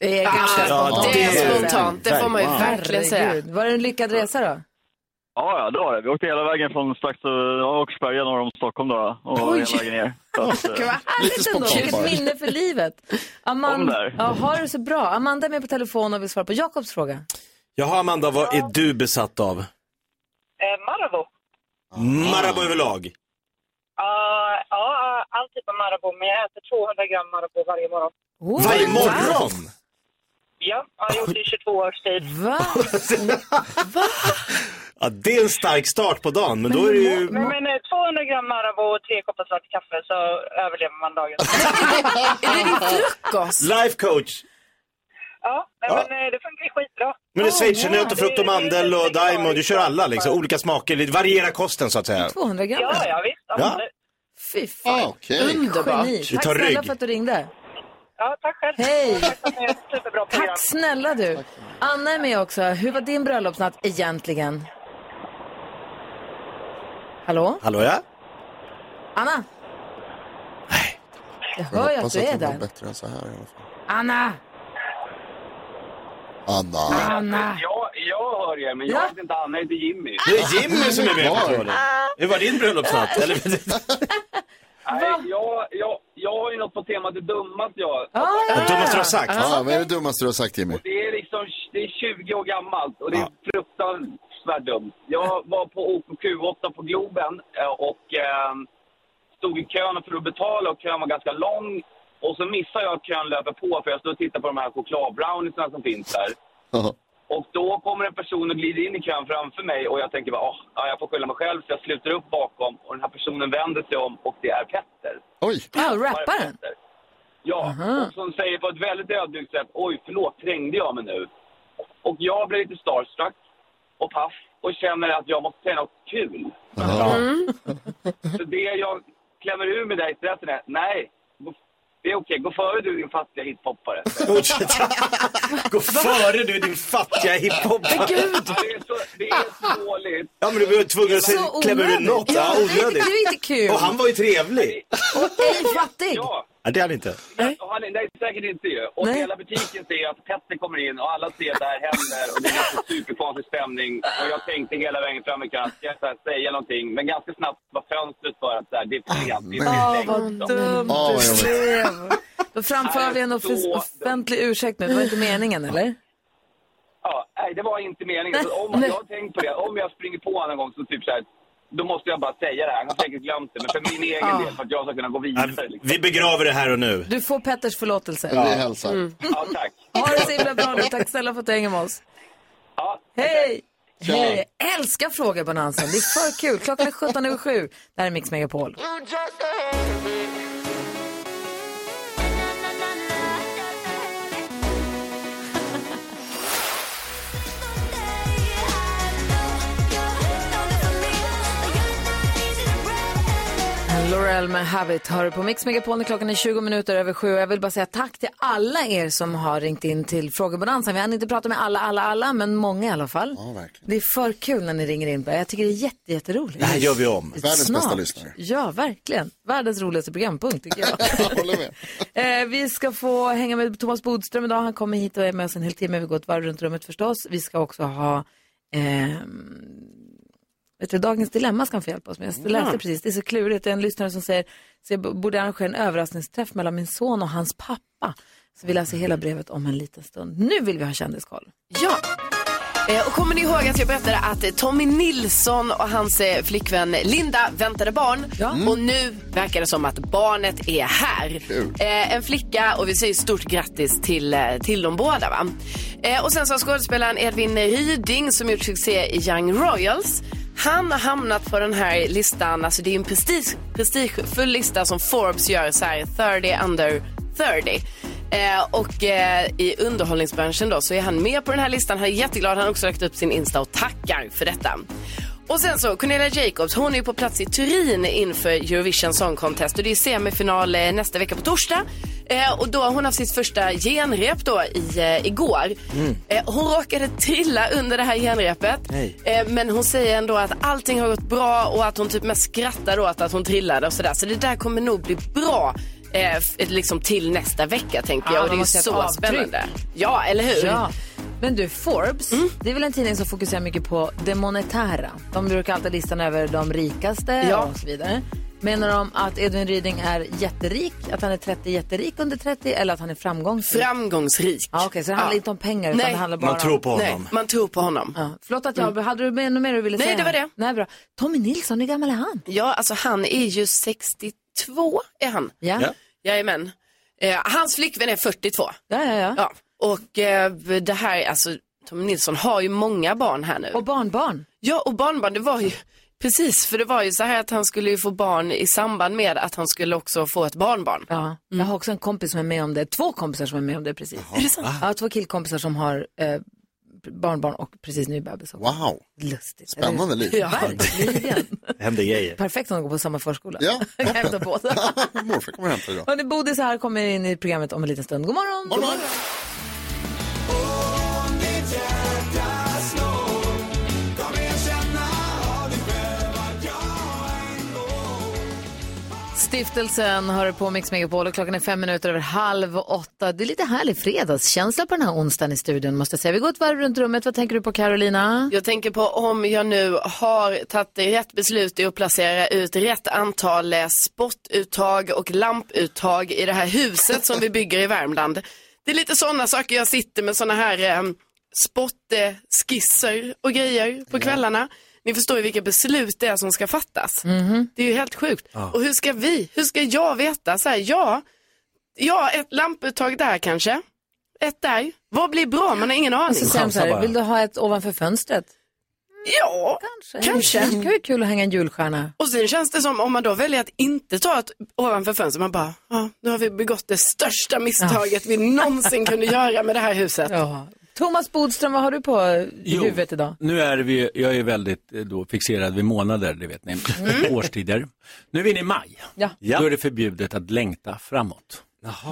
[SPEAKER 1] Det
[SPEAKER 3] Ah,
[SPEAKER 1] är ganska
[SPEAKER 18] ja,
[SPEAKER 1] spontant.
[SPEAKER 18] det är spontant.
[SPEAKER 3] Det får man ju
[SPEAKER 1] Wow.
[SPEAKER 3] verkligen säga.
[SPEAKER 1] Herregud. Var det en lyckad resa då?
[SPEAKER 18] Ja, ja, det var det. Vi åkte hela vägen från strax ja, Åkersberga norr om Stockholm då, och
[SPEAKER 1] Oj.
[SPEAKER 18] hela vägen ner. Så
[SPEAKER 2] Alltså,
[SPEAKER 18] att, eh,
[SPEAKER 1] Gud, vad härligt ändå. Vilket minne för livet.
[SPEAKER 18] Om
[SPEAKER 1] Amanda,
[SPEAKER 18] där.
[SPEAKER 1] ja, har det så bra. Amanda är med på telefon och vill svara på Jakobs fråga.
[SPEAKER 2] Jaha, Amanda, vad är du besatt av?
[SPEAKER 10] Eh, Marabou.
[SPEAKER 2] Marabou överlag.
[SPEAKER 19] typ
[SPEAKER 10] Ja, ja, alltid på Marabou, men jag äter 200 gram Marabou varje morgon.
[SPEAKER 1] Oj,
[SPEAKER 2] Varje
[SPEAKER 1] va?
[SPEAKER 2] morgon?
[SPEAKER 19] Ja, jag har gjort det i 22 års tid.
[SPEAKER 1] Va?
[SPEAKER 2] Ja, det är en stark start på dagen, men då är det ju...
[SPEAKER 19] Men, men eh, 200 gram Marabou och tre koppar svart kaffe så överlever man dagen.
[SPEAKER 1] är det din frukost?
[SPEAKER 2] Life coach!
[SPEAKER 19] Ja, men,
[SPEAKER 2] Ja.
[SPEAKER 19] men eh, det funkar ju skitbra.
[SPEAKER 2] Men det är seichernöt och frukt och mandel och daimo, du kör alla liksom, olika smaker, lite variera kosten så att säga.
[SPEAKER 1] 200 gram?
[SPEAKER 19] Ja, ja, visst.
[SPEAKER 2] Ja.
[SPEAKER 1] Fy fan.
[SPEAKER 2] Okej.
[SPEAKER 1] Underbart.
[SPEAKER 2] Vi
[SPEAKER 1] Geni. Tack
[SPEAKER 2] tar
[SPEAKER 1] snälla
[SPEAKER 2] rygg.
[SPEAKER 1] för att du ringde.
[SPEAKER 19] Ja, tack själv.
[SPEAKER 1] Hej.
[SPEAKER 19] Superbra program.
[SPEAKER 1] Tack snälla du. Anna är med också. Hur var din bröllopsnatt egentligen? Hallå?
[SPEAKER 2] Hallå ja?
[SPEAKER 1] Anna? Jag hör ju att du är där.
[SPEAKER 4] bättre än så här i alla fall.
[SPEAKER 1] Anna!
[SPEAKER 4] Anna.
[SPEAKER 1] Anna!
[SPEAKER 20] Jag, jag hör er, men jag
[SPEAKER 1] Ja.
[SPEAKER 20] heter inte Anna, jag heter Jimmy.
[SPEAKER 2] Det är Jimmy som är med på tråden. Hur var din bröllopsnatt? Eller,
[SPEAKER 20] Nej, jag, jag, jag har ju något på temat det dummaste jag...
[SPEAKER 1] Ah,
[SPEAKER 4] Det
[SPEAKER 2] dummaste du har sagt.
[SPEAKER 4] Ja, vad är det dummaste du har sagt Jimmy?
[SPEAKER 20] Det är liksom det är 20 år gammalt och det är fruktansvärt dumt. Jag var på OKQ8 på Globen eh, och eh, stod i kön för att betala och kön var ganska lång. Och så missade jag att kön löper på för jag stod och tittade på de här chokladbrowniesarna som finns där. Och då kommer en person och glider in i kön framför mig och jag tänker bara, "Åh, ja, jag får skylla mig själv. Så jag sluter upp bakom och den här personen vänder sig om och det är Petter.
[SPEAKER 4] Oj!
[SPEAKER 1] Ja, rapparen.
[SPEAKER 20] Ja, och som säger på ett väldigt ödmjukt sätt, oj förlåt, trängde jag mig nu? Och jag blir lite starstruck och paff och känner att jag måste säga något kul.
[SPEAKER 2] Mhm.
[SPEAKER 20] Så det jag klämmer ur med dig i stressen är, nej, gå- det är okej, gå före du din fattiga hitpoppare.
[SPEAKER 2] gå
[SPEAKER 20] Alltså,
[SPEAKER 2] före du din fattiga hiphopare.
[SPEAKER 20] Det är så, det är så dåligt.
[SPEAKER 2] Ja men du var ju tvungen att
[SPEAKER 20] Så
[SPEAKER 2] säga- klämma ur
[SPEAKER 20] onödigt.
[SPEAKER 2] något. Ja,
[SPEAKER 20] Ja, det är inte-
[SPEAKER 2] onödigt.
[SPEAKER 20] det är inte kul.
[SPEAKER 2] Och han var ju trevlig.
[SPEAKER 1] Och ej fattig.
[SPEAKER 2] Ja, det är han inte.
[SPEAKER 20] Nej. Och han, nej, säkert inte ju. Och hela butiken ser att Petter kommer in och alla ser att det här händer och det är en superkonstig stämning. Och jag tänkte hela vägen fram i kön, ska jag så här säga någonting? Men ganska snabbt var fönstret för att så här, det är för sent. Det är för
[SPEAKER 1] Åh,
[SPEAKER 20] sent.
[SPEAKER 1] vad dumt
[SPEAKER 20] Ja,
[SPEAKER 1] du
[SPEAKER 20] jag vet.
[SPEAKER 1] blev. Då framför vi en offi- offentlig ursäkt nu. Det var inte meningen, eller?
[SPEAKER 20] Ja, nej, det var inte meningen. Så om, jag har tänkt på det, om jag springer på honom en gång så typ så här, då måste jag bara säga det här. Han har säkert glömt det, men för min egen del, för att jag ska kunna gå vidare. Liksom.
[SPEAKER 2] Vi begraver det här och nu.
[SPEAKER 1] Du får Petters förlåtelse. Mm.
[SPEAKER 2] Ja. Vi hälsar.
[SPEAKER 20] Ja, tack.
[SPEAKER 1] Ha det så himla bra nu. Tack snälla för att du hänger med oss. Hej!
[SPEAKER 15] Tja.
[SPEAKER 1] Hej! Älskar frågebonansen. Det är för kul. Klockan är 17 över 7. Det här är Mix Megapol. Laurel med Habit hör du på Mix Megapol när klockan är 20 minuter över sju. Jag vill bara säga tack till alla er som har ringt in till Frågebonansen. Vi hann inte prata med alla, alla, alla, men många i alla fall. Det är för kul när ni ringer in. Jag tycker det är jätte, jätteroligt.
[SPEAKER 2] Det här gör vi om.
[SPEAKER 1] Världens Snart. bästa lyssnare. Ja, verkligen. Världens roligaste programpunkt tycker jag. Eh, vi ska få hänga med Thomas Bodström idag. Han kommer hit och är med oss en hel timme. Vi går ett varv runt rummet förstås. Vi ska också ha ehm, Vet du, dagens dilemma ska han få hjälpa oss med. Jag läste
[SPEAKER 15] Ja.
[SPEAKER 1] precis, det är så klurigt. Det är en lyssnare som säger, så jag b- borde arrangera en överraskningsträff mellan min son och hans pappa. Så vi läser hela brevet om en liten stund. Nu vill vi ha kändiskoll.
[SPEAKER 3] Ja. Eh, Och kommer ni ihåg att jag berättade att eh, Tommy Nilsson och hans eh, flickvän Linda väntade barn? Mm. Och nu verkar det som att barnet är här. Eh, en flicka och vi säger stort grattis till, eh, till de båda. Va? Eh, och sen så har skådespelaren Edvin Hyding som gjort succé i Young Royals. Han har hamnat på den här listan, alltså det är en prestige, prestigefull lista som Forbes gör så här 30 under 30. Eh, och eh, i underhållningsbranschen då så är han med på den här listan. Han är jätteglad. Han har också lagt upp sin Insta och tackar för detta. Och sen så Cornelia Jacobs, hon är ju på plats i Turin inför Eurovision Song Contest och det är semifinal eh, nästa vecka på torsdag. Eh, och då har hon haft sitt första genrep då i, eh, igår.
[SPEAKER 21] Mm.
[SPEAKER 3] Eh, hon råkade trilla under det här genrepet.
[SPEAKER 21] Nej.
[SPEAKER 3] Eh, men hon säger ändå att allting har gått bra och att hon typ mest skrattar åt att hon trillade och sådär. Så det där kommer nog bli bra. Eh, f- liksom till nästa vecka tänker
[SPEAKER 1] Ja,
[SPEAKER 3] jag och det
[SPEAKER 1] man
[SPEAKER 3] är ju
[SPEAKER 1] måste
[SPEAKER 3] så
[SPEAKER 1] göra ett avtryck.
[SPEAKER 3] spännande. Ja, eller hur? Mm.
[SPEAKER 1] Ja. Men du, Forbes, det är väl en tidning som fokuserar mycket på det monetära. De brukar alltid listan över de rikaste
[SPEAKER 3] Ja.
[SPEAKER 1] och så vidare. Menar de att Edvin Ryding är jätterik, att han är 30 jätterik under 30 eller att han är framgångsrik?
[SPEAKER 3] Framgångsrik.
[SPEAKER 1] Ja, Okej, så det handlar
[SPEAKER 3] Ja.
[SPEAKER 1] inte om pengar utan det handlar bara om...
[SPEAKER 3] Nej, man tror på honom.
[SPEAKER 1] Förlåt att jag avbröt. Hade du med- något mer du ville
[SPEAKER 3] Mm. Nej,
[SPEAKER 1] säga?
[SPEAKER 3] det var det.
[SPEAKER 1] Nej, bra. Tommy Nilsson, hur gammal är han?
[SPEAKER 3] Ja, alltså han är ju 62 är han.
[SPEAKER 1] Ja.
[SPEAKER 3] Jajamän. Eh, hans flickvän är 42.
[SPEAKER 1] Ja, ja, ja.
[SPEAKER 3] och eh, det här, alltså Tom Nilsson har ju många barn här nu. Och
[SPEAKER 1] barnbarn.
[SPEAKER 3] Ja, och barnbarn, det var ju, precis, för det var ju så här att han skulle ju få barn i samband med att han skulle också få ett barnbarn.
[SPEAKER 1] Ja, Jag har också en kompis som är med om det, två kompisar som är med om det precis.
[SPEAKER 3] Är det sant?
[SPEAKER 1] Ja, två killkompisar som har eh, barnbarn och precis ny bebis också.
[SPEAKER 4] Wow.
[SPEAKER 1] Lustigt.
[SPEAKER 4] Spännande liv.
[SPEAKER 1] Ja, verkligen.
[SPEAKER 2] Händer grejer.
[SPEAKER 1] Perfekt om de går på samma förskola.
[SPEAKER 4] Ja,
[SPEAKER 1] kan hämta båda.
[SPEAKER 4] Morfar kommer hämta idag.
[SPEAKER 1] Hörni, Bodis här kommer in i programmet om en liten stund. God morgon! God morgon. Stiftelsen hör på Mix Megapol och klockan är fem minuter över halv åtta. Det är lite härlig fredagskänsla på den här onsdagen i studion måste jag säga. Vi går ett varv runt rummet. Vad tänker du på Carolina?
[SPEAKER 3] Jag tänker på om jag nu har tagit rätt beslut i att placera ut rätt antal eh, spottuttag och lamputtag i det här huset som vi bygger i Värmland. Det är lite sådana saker jag sitter med sådana här eh, spottskisser och grejer på kvällarna. Ni förstår ju vilka beslut det är som ska fattas.
[SPEAKER 1] Mhm.
[SPEAKER 3] Det är ju helt sjukt.
[SPEAKER 22] Ja.
[SPEAKER 3] Och hur ska vi, hur ska jag veta så här, ja, ja, ett lamputtag där kanske, ett där. Vad blir bra? Man har ingen aning.
[SPEAKER 1] Och så säger de så här, vill du ha ett ovanför fönstret?
[SPEAKER 3] Ja,
[SPEAKER 1] kanske. Mm. Det kan vara kul att hänga en julstjärna.
[SPEAKER 3] Och sen känns det som om man då väljer att inte ta ett ovanför fönstret, man bara, ja, nu har vi begått det största misstaget vi någonsin kunde göra med det här huset.
[SPEAKER 1] Ja. Thomas Bodström, vad har du på i
[SPEAKER 22] Jo.
[SPEAKER 1] huvudet idag?
[SPEAKER 22] Nu är vi, jag är väldigt eh, då fixerad vid månader, det vet ni, årstider. Nu är vi inne i maj.
[SPEAKER 1] Mm. Ja.
[SPEAKER 22] Då är det förbjudet att längta framåt.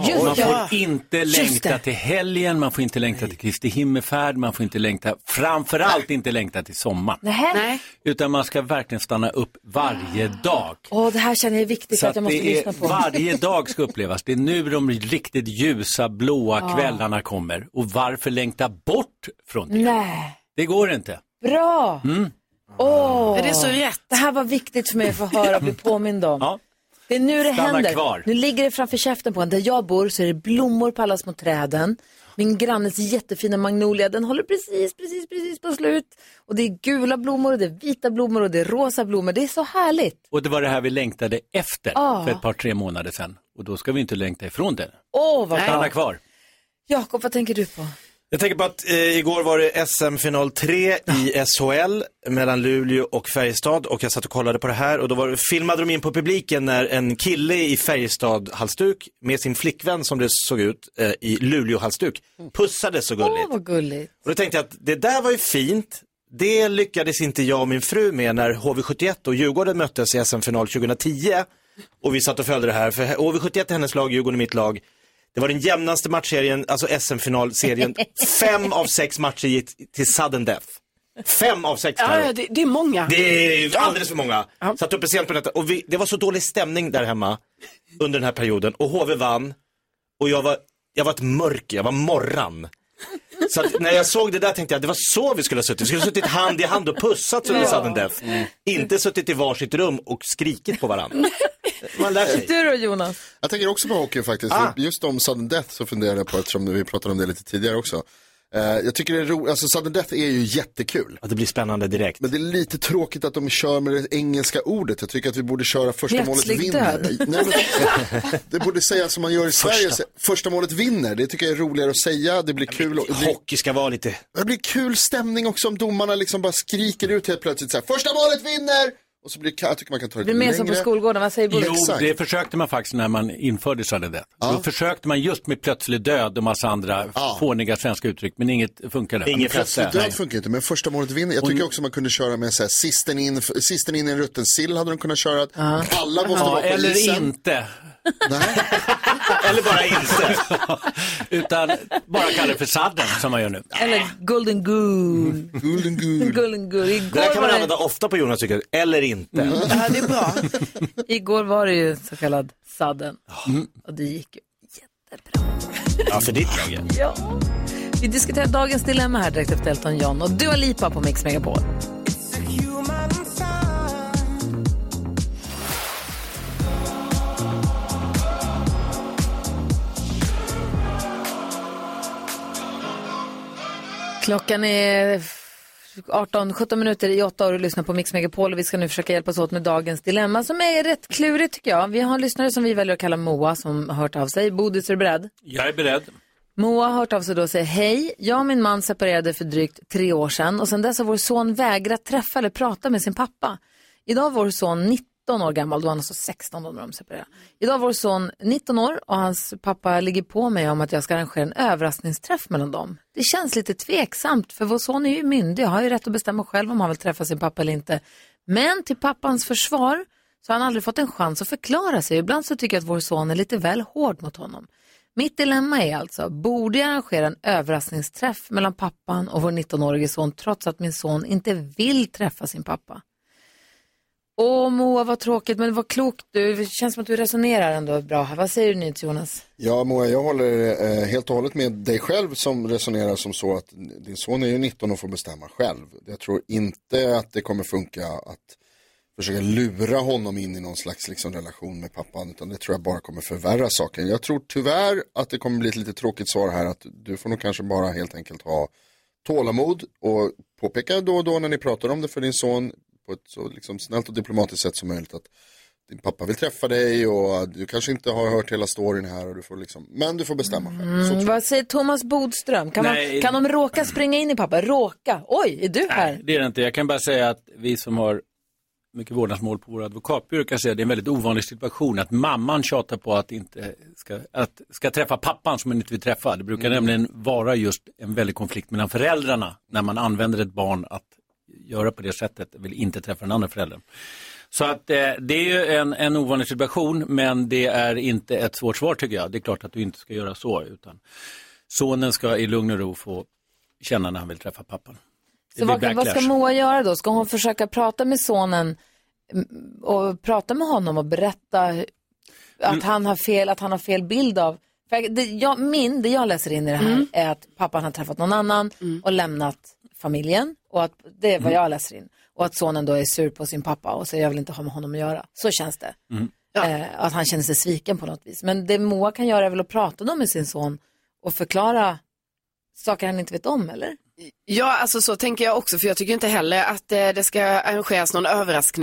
[SPEAKER 23] Just
[SPEAKER 22] man
[SPEAKER 23] det.
[SPEAKER 22] får
[SPEAKER 23] Ja.
[SPEAKER 22] inte
[SPEAKER 23] Just
[SPEAKER 22] längta
[SPEAKER 23] det.
[SPEAKER 22] till helgen, man får inte längta till Kristi himmelsfärd, man får inte längta, framförallt inte längta till sommaren.
[SPEAKER 1] Nej.
[SPEAKER 22] Utan man ska verkligen stanna upp varje dag.
[SPEAKER 1] Åh, det här känner jag är viktigt
[SPEAKER 22] Så att
[SPEAKER 1] för att jag måste
[SPEAKER 22] det
[SPEAKER 1] lyssna
[SPEAKER 22] är,
[SPEAKER 1] på.
[SPEAKER 22] varje dag ska upplevas. Det är nu de riktigt ljusa blåa
[SPEAKER 1] Ja.
[SPEAKER 22] kvällarna kommer. Och varför längta bort från det?
[SPEAKER 1] Nej,
[SPEAKER 22] Det går inte.
[SPEAKER 1] bra!
[SPEAKER 22] Mm.
[SPEAKER 1] Åh,
[SPEAKER 22] Är det så rätt?
[SPEAKER 1] Det här var viktigt för mig att få höra och bli påmind om. Det är nu det
[SPEAKER 22] Stanna
[SPEAKER 1] händer.
[SPEAKER 22] kvar.
[SPEAKER 1] Nu ligger det framför käften på en. Där jag bor så är det blommor på alla små träden. Min grannes jättefina magnolia, den håller precis, precis, precis på slut. Och det är gula blommor och det är vita blommor och det är rosa blommor. Det är så härligt.
[SPEAKER 22] Och det var det här vi längtade efter
[SPEAKER 1] Ja.
[SPEAKER 22] för ett par, tre månader sedan. Och då ska vi inte längta ifrån det.
[SPEAKER 1] Åh, Ah. vad
[SPEAKER 22] Stanna
[SPEAKER 1] bra.
[SPEAKER 22] kvar.
[SPEAKER 1] Jakob, vad tänker du på?
[SPEAKER 2] Jag tänker på att eh, igår var det SM-final 3 i SHL mellan Luleå och Färjestad och jag satt och kollade på det här och då var, det- filmade de in på publiken när en kille i Färjestad-halsduk med sin flickvän som det såg ut eh, i Luleå-halsduk pussade så gulligt.
[SPEAKER 1] Åh, vad gulligt.
[SPEAKER 2] Och då tänkte jag att det där var ju fint. Det lyckades inte jag och min fru med när HV71 och Djurgården möttes i SM-final 2010. Och vi satt och följde det här, för HV71 är hennes lag, Djurgården är mitt lag. Det var den jämnaste matchserien, alltså SM-finalserien. Fem av sex matcher gick till sudden death. Fem av sex
[SPEAKER 3] Ja,
[SPEAKER 2] terror.
[SPEAKER 3] ja, det, det är många.
[SPEAKER 2] Det är alldeles för många. Satt uppe sent på detta. Och vi, det var så dålig stämning där hemma under den här perioden. Och HV vann. Och jag var, jag var ett mörker, jag var morran. Så att när jag såg det där tänkte jag, det var så vi skulle ha suttit. Vi skulle ha suttit hand i hand och pussat som i
[SPEAKER 1] Ja. Mm.
[SPEAKER 2] sudden death. Inte suttit i varsitt rum och skrikit på varandra. Man lär sig.
[SPEAKER 1] Du då Jonas?
[SPEAKER 4] Jag tänker också på hockey faktiskt.
[SPEAKER 2] Ah.
[SPEAKER 4] Just om sudden death så funderar jag på, eftersom vi pratade om det lite tidigare också. Eh, jag tycker det är roligt, alltså sudden death är ju jättekul.
[SPEAKER 2] det blir spännande direkt.
[SPEAKER 4] Men det är lite tråkigt att de kör med det engelska ordet. Jag tycker att vi borde köra första målet
[SPEAKER 1] Plötslig
[SPEAKER 4] vinner.
[SPEAKER 1] död.
[SPEAKER 4] Nej, men, det borde sägas som man gör i Sverige,
[SPEAKER 2] Första.
[SPEAKER 4] första målet vinner. Det tycker jag är roligare att säga, det blir kul. Och, det blir,
[SPEAKER 2] Hockey ska vara lite...
[SPEAKER 4] det blir kul stämning också om domarna liksom bara skriker ut helt plötsligt så här, första målet vinner! Och så blir det, jag tycker man kan ta det
[SPEAKER 1] Det är
[SPEAKER 4] lite
[SPEAKER 1] mer
[SPEAKER 4] längre.
[SPEAKER 1] som på skolgården, vad säger Bodil?
[SPEAKER 22] Jo, det försökte man faktiskt när man införde sudden death. Då försökte man just med plötslig död och massa andra fåniga svenska uttryck, men inget funkade.
[SPEAKER 4] Inget plötsligt död funkar inte, men första målet vinner. Jag
[SPEAKER 22] Och-
[SPEAKER 4] tycker också man kunde köra med så här, sisten in, sisten in i en rutten sill hade de kunnat köra. Alla måste
[SPEAKER 22] Ja,
[SPEAKER 4] vara på
[SPEAKER 22] eller
[SPEAKER 4] isen.
[SPEAKER 22] inte.
[SPEAKER 2] eller bara inte.
[SPEAKER 22] Utan bara kalla det för sadden som man gör nu.
[SPEAKER 1] Eller Golden Goo.
[SPEAKER 4] Golden Goo.
[SPEAKER 1] Golden Goo. Igår
[SPEAKER 2] Det där kan
[SPEAKER 1] var
[SPEAKER 2] man
[SPEAKER 1] det-
[SPEAKER 2] använda ofta på Jonas tycker jag, eller inte.
[SPEAKER 4] Mm.
[SPEAKER 1] Ja, det är bra. Igår var det ju så kallad sadden. Och det gick ju.
[SPEAKER 2] Ja, för ditt lag.
[SPEAKER 1] Ja. Vi diskuterar dagens dilemma här direkt efter Elton John och Dua Lipa på Mix Megapol. Klockan är f- 18-17 minuter i åtta år och lyssnar på Mix Megapol och vi ska nu försöka hjälpas åt med dagens dilemma som är rätt klurigt tycker jag. Vi har en lyssnare som vi väljer att kalla Moa som har hört av sig. Bodis, är du beredd?
[SPEAKER 22] Jag är beredd.
[SPEAKER 1] Moa har hört av sig då och säger hej. Jag och min man separerade för drygt tre år sedan och sedan dess har vår son vägrat träffa eller prata med sin pappa. Idag är vår son 19 år gammal, då var han alltså 16 då när de separerade. Idag är vår son 19 år och hans pappa ligger på mig om att jag ska arrangera en överraskningsträff mellan dem. Det känns lite tveksamt för vår son är ju myndig och har ju rätt att bestämma själv om han vill träffa sin pappa eller inte. Men till pappans försvar så har han aldrig fått en chans att förklara sig. Ibland så tycker jag att vår son är lite väl hård mot honom. Mitt dilemma är alltså, borde jag arrangera en överraskningsträff mellan pappan och vår 19-årige son trots att min son inte vill träffa sin pappa? Åh Moa, vad tråkigt, men vad klokt du. Det känns som att du resonerar ändå bra här. Vad säger du nu Jonas?
[SPEAKER 4] Ja, Moa, jag håller eh, helt och hållet med dig själv som resonerar som så att din son är ju 19 och får bestämma själv. Jag tror inte att det kommer funka att försöka lura honom in i någon slags liksom, relation med pappan, utan det tror jag bara kommer förvärra saken. Jag tror tyvärr att det kommer bli ett lite tråkigt svar här, att du får nog kanske bara helt enkelt ha tålamod och påpeka då och då när ni pratar om det för din son på ett så liksom, snällt och diplomatiskt sätt som möjligt att din pappa vill träffa dig och du kanske inte har hört hela storyn här och du får liksom, men du får bestämma själv. Så tror
[SPEAKER 1] Mm,
[SPEAKER 4] jag.
[SPEAKER 1] vad säger Thomas Bodström? Kan, man,
[SPEAKER 22] Nej.
[SPEAKER 1] kan de råka springa in i pappa? Råka? Oj, är du här?
[SPEAKER 22] Det är det inte. Jag kan bara säga att vi som har mycket vårdnadsmål på vår advokatbyrå kan säga att det är en väldigt ovanlig situation att mamman tjatar på att inte ska, att ska träffa pappan som man inte vill träffa. Det brukar
[SPEAKER 1] Mm.
[SPEAKER 22] nämligen vara just en väldig konflikt mellan föräldrarna när man använder ett barn att göra på det sättet, vill inte träffa den andra föräldern. Så att eh, det är ju en, en ovanlig situation men det är inte ett svårt svar tycker jag. Det är klart att du inte ska göra så utan sonen ska i lugn och ro få känna när han vill träffa pappan. Det
[SPEAKER 1] Så vad,
[SPEAKER 22] blir
[SPEAKER 1] vad ska
[SPEAKER 22] backlash.
[SPEAKER 1] Moa göra då? Ska hon försöka prata med sonen mm, och prata med honom och berätta hu-
[SPEAKER 22] Mm.
[SPEAKER 1] att han har fel, att han har fel bild av? För jag- det, jag, min, det jag läser in i det här är att pappan har träffat någon annan och lämnat familjen och att det är vad
[SPEAKER 22] Mm.
[SPEAKER 1] jag läser in. Och att sonen då är sur på sin pappa och säger jag vill inte ha med honom att göra. Så känns det. Eh, att han känner sig sviken på något vis. Men det Moa kan göra är väl att prata då med sin son och förklara saker han inte vet om, eller?
[SPEAKER 3] Ja, alltså så tänker jag också, för jag tycker inte heller att eh, det ska arrangeras någon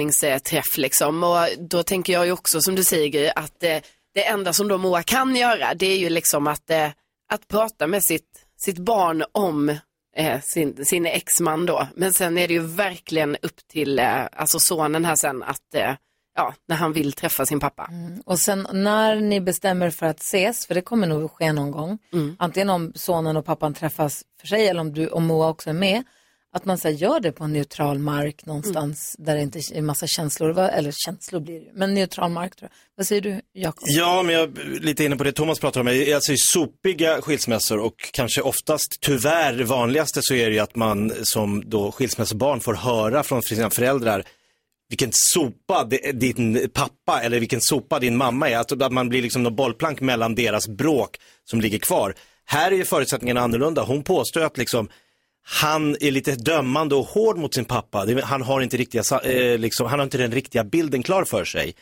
[SPEAKER 3] överraskningsträff liksom. Och då tänker jag ju också som du säger Gry, att eh, det enda som då Moa kan göra, det är ju liksom att, eh, att prata med sitt, sitt barn om eh, sin, sin exman då. Men sen är det ju verkligen upp till eh, alltså sonen här sen att, eh, ja, när han vill träffa sin pappa.
[SPEAKER 1] Och sen när ni bestämmer för att ses, för det kommer nog ske någon gång,
[SPEAKER 22] Mm.
[SPEAKER 1] antingen om sonen och pappan träffas för sig eller om du och Moa också är med, att man så här, gör det på en neutral mark någonstans
[SPEAKER 22] Mm.
[SPEAKER 1] där det inte är massa känslor, va? eller känslor blir det ju, men neutral mark tror jag. Vad säger du, Jakob?
[SPEAKER 2] Ja, men jag är lite inne på det Thomas pratar om. Alltså i sopiga skilsmässor och kanske oftast, tyvärr, vanligaste så är det ju att man som då skilsmässobarn får höra från sina föräldrar vilken sopa di- din pappa eller vilken sopa din mamma är. Alltså att man blir liksom någon bollplank mellan deras bråk som ligger kvar. Här är ju förutsättningarna annorlunda. Hon påstår att liksom han är lite dömande och hård mot sin pappa. Det- Han har inte, riktiga, sa- eh, liksom, han har inte den riktiga bilden klar för sig.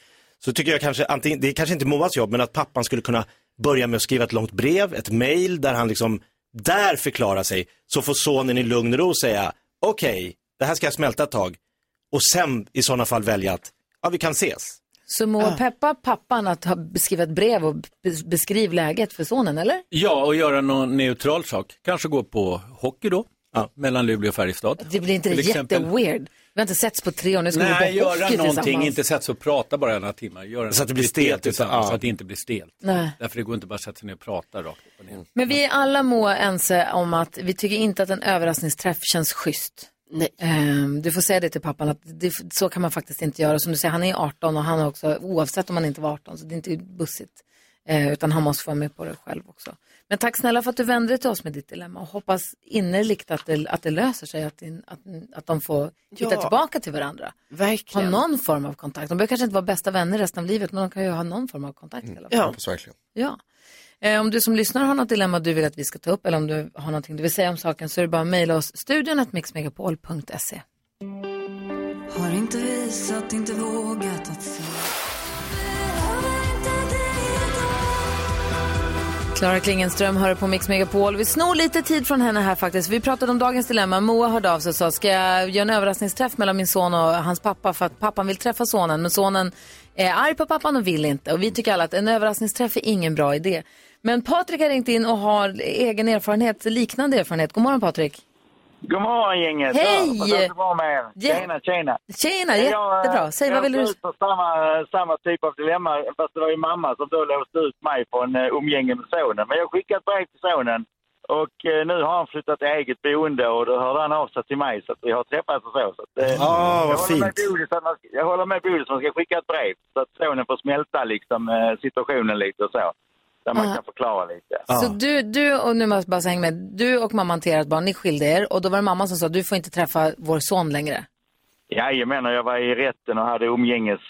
[SPEAKER 2] Så tycker jag kanske, antingen, det är kanske inte Moas jobb, men att pappan skulle kunna börja med att skriva ett långt brev, ett mail där han liksom, där förklarar sig. Så får sonen i lugn och ro säga, okej, det här ska jag smälta ett tag. Och sen i sådana fall välja att, ja vi kan ses.
[SPEAKER 1] Så Moa
[SPEAKER 22] Ah.
[SPEAKER 1] peppa pappan att ha skriva ett brev och be- beskriv läget för sonen, eller?
[SPEAKER 22] Ja, och göra någon neutral sak. Kanske gå på hockey då, mellan Luleå och Färjestad.
[SPEAKER 1] Det blir inte det
[SPEAKER 22] Till exempel.
[SPEAKER 1] jätteweird? Vi har inte setts på tre år, nu ska
[SPEAKER 22] Nej,
[SPEAKER 1] vi gå på
[SPEAKER 22] göra
[SPEAKER 1] hockey
[SPEAKER 22] någonting,
[SPEAKER 1] tillsammans.
[SPEAKER 22] inte sätta sig och prata bara några timmar. Göra
[SPEAKER 2] Så att det blir
[SPEAKER 22] något
[SPEAKER 2] stelt, liksom.
[SPEAKER 22] tillsammans,
[SPEAKER 2] ja.
[SPEAKER 22] Så att det inte blir stelt.
[SPEAKER 1] Nej.
[SPEAKER 22] Därför det går inte bara att sätta sig ner och prata rakt upp och ner.
[SPEAKER 1] Men vi är alla Moa ense om att vi tycker inte att en överraskningsträff känns schysst. Ehm, du får säga det till pappan att det, så kan man faktiskt inte göra. Som du säger, han är 18 och han är också, oavsett om han inte var 18, så det är inte bussigt. Eh, utan han måste få vara med på det själv också. Men tack snälla för att du vände dig till oss med ditt dilemma och hoppas innerligt att det, att det löser sig, att, din, att, att de får hitta
[SPEAKER 3] Ja.
[SPEAKER 1] tillbaka till varandra.
[SPEAKER 3] Verkligen.
[SPEAKER 1] Ha någon form av kontakt. De behöver kanske inte vara bästa vänner resten av livet, men de kan ju ha någon form av kontakt. i alla fall.
[SPEAKER 4] Hoppas verkligen.
[SPEAKER 1] Ja. Eh, om du som lyssnar har något dilemma du vill att vi ska ta upp eller om du har någonting du vill säga om saken så är det bara att mejla oss studion att mixmegapol.se.
[SPEAKER 24] Har inte visat, inte vågat att se
[SPEAKER 1] Klara Klingenström hör på Mix Megapol. Vi snor lite tid från henne här faktiskt. Vi pratade om dagens dilemma. Moa hörde av sig och sa, ska jag göra en överraskningsträff mellan min son och hans pappa för att pappan vill träffa sonen, men sonen är arg på pappan och vill inte. Och vi tycker alla att en överraskningsträff är ingen bra idé. Men Patrik har ringt in och har egen erfarenhet, liknande erfarenhet. God morgon Patrik.
[SPEAKER 14] God morgon gänget!
[SPEAKER 1] Hej!
[SPEAKER 14] Ja, fantastiskt att vara med er.
[SPEAKER 1] Ja.
[SPEAKER 14] Tjena, tjena!
[SPEAKER 1] Tjena,
[SPEAKER 14] Jag, eh,
[SPEAKER 1] jättebra. Säg, vad vill du-
[SPEAKER 14] Jag står ut för samma, samma typ av dilemma, fast det var ju mamma som då låste ut mig från eh, umgänge med sonen. Men jag skickade ett brev till sonen och eh, nu har han flyttat till eget boende och då hörde han av sig till mig så att vi har träffats och så. så att, eh,
[SPEAKER 2] Ah, vad
[SPEAKER 14] jag, håller med
[SPEAKER 2] fint.
[SPEAKER 14] Bodis att man, ska- jag håller med Bodis att man ska skicka ett brev så att sonen får smälta liksom, eh, situationen lite och så. Där man
[SPEAKER 1] Ah.
[SPEAKER 14] kan förklara lite.
[SPEAKER 1] Så du, du och nu måste jag bara så häng med, du och mamman till ert barn, ni skilde er och då var det mamma som sa, du får inte träffa vår son längre.
[SPEAKER 14] Jajamän, och jag var i rätten och hade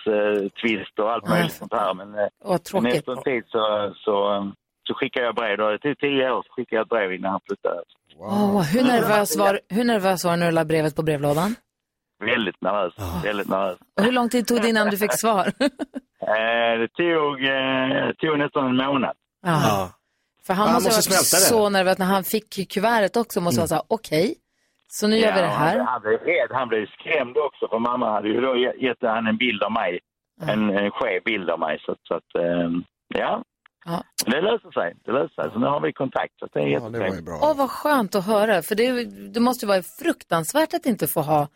[SPEAKER 14] umgängestvist och allt möjligt sånt här. Men, eh,
[SPEAKER 1] Åh, tråkigt.
[SPEAKER 14] men efter en tid så, så, eh, så skickade jag brev. Då, till tio år så skickade jag ett brev innan han flyttade.
[SPEAKER 1] Åh, hur, nervös var, hur nervös var du när du la brevet på brevlådan?
[SPEAKER 14] Väldigt nervös. Väldigt nervös.
[SPEAKER 1] Och hur lång tid tog det innan Ah. du fick svar?
[SPEAKER 14] Eh, det tog, eh, det tog nästan en månad.
[SPEAKER 1] Ja. För han
[SPEAKER 14] Ja, han
[SPEAKER 1] måste ha
[SPEAKER 14] måste
[SPEAKER 1] varit
[SPEAKER 14] smälta det. Mm.
[SPEAKER 1] så nervös när han fick kuvertet också, måste han säga, okej, så nu gör vi det här.
[SPEAKER 14] Ja, Han, han blev rädd. Han blev skrämd också för mamma hade ju då ge- gett han en bild av mig. En, en skev bild av mig. Så, att- så att, eh, ja.
[SPEAKER 1] Ja.
[SPEAKER 14] Det löser sig. Det löser sig. Så nu har vi kontakt. Så att det är ja,
[SPEAKER 1] Åh, vad skönt att höra. För det, det måste ju vara fruktansvärt att inte få ha,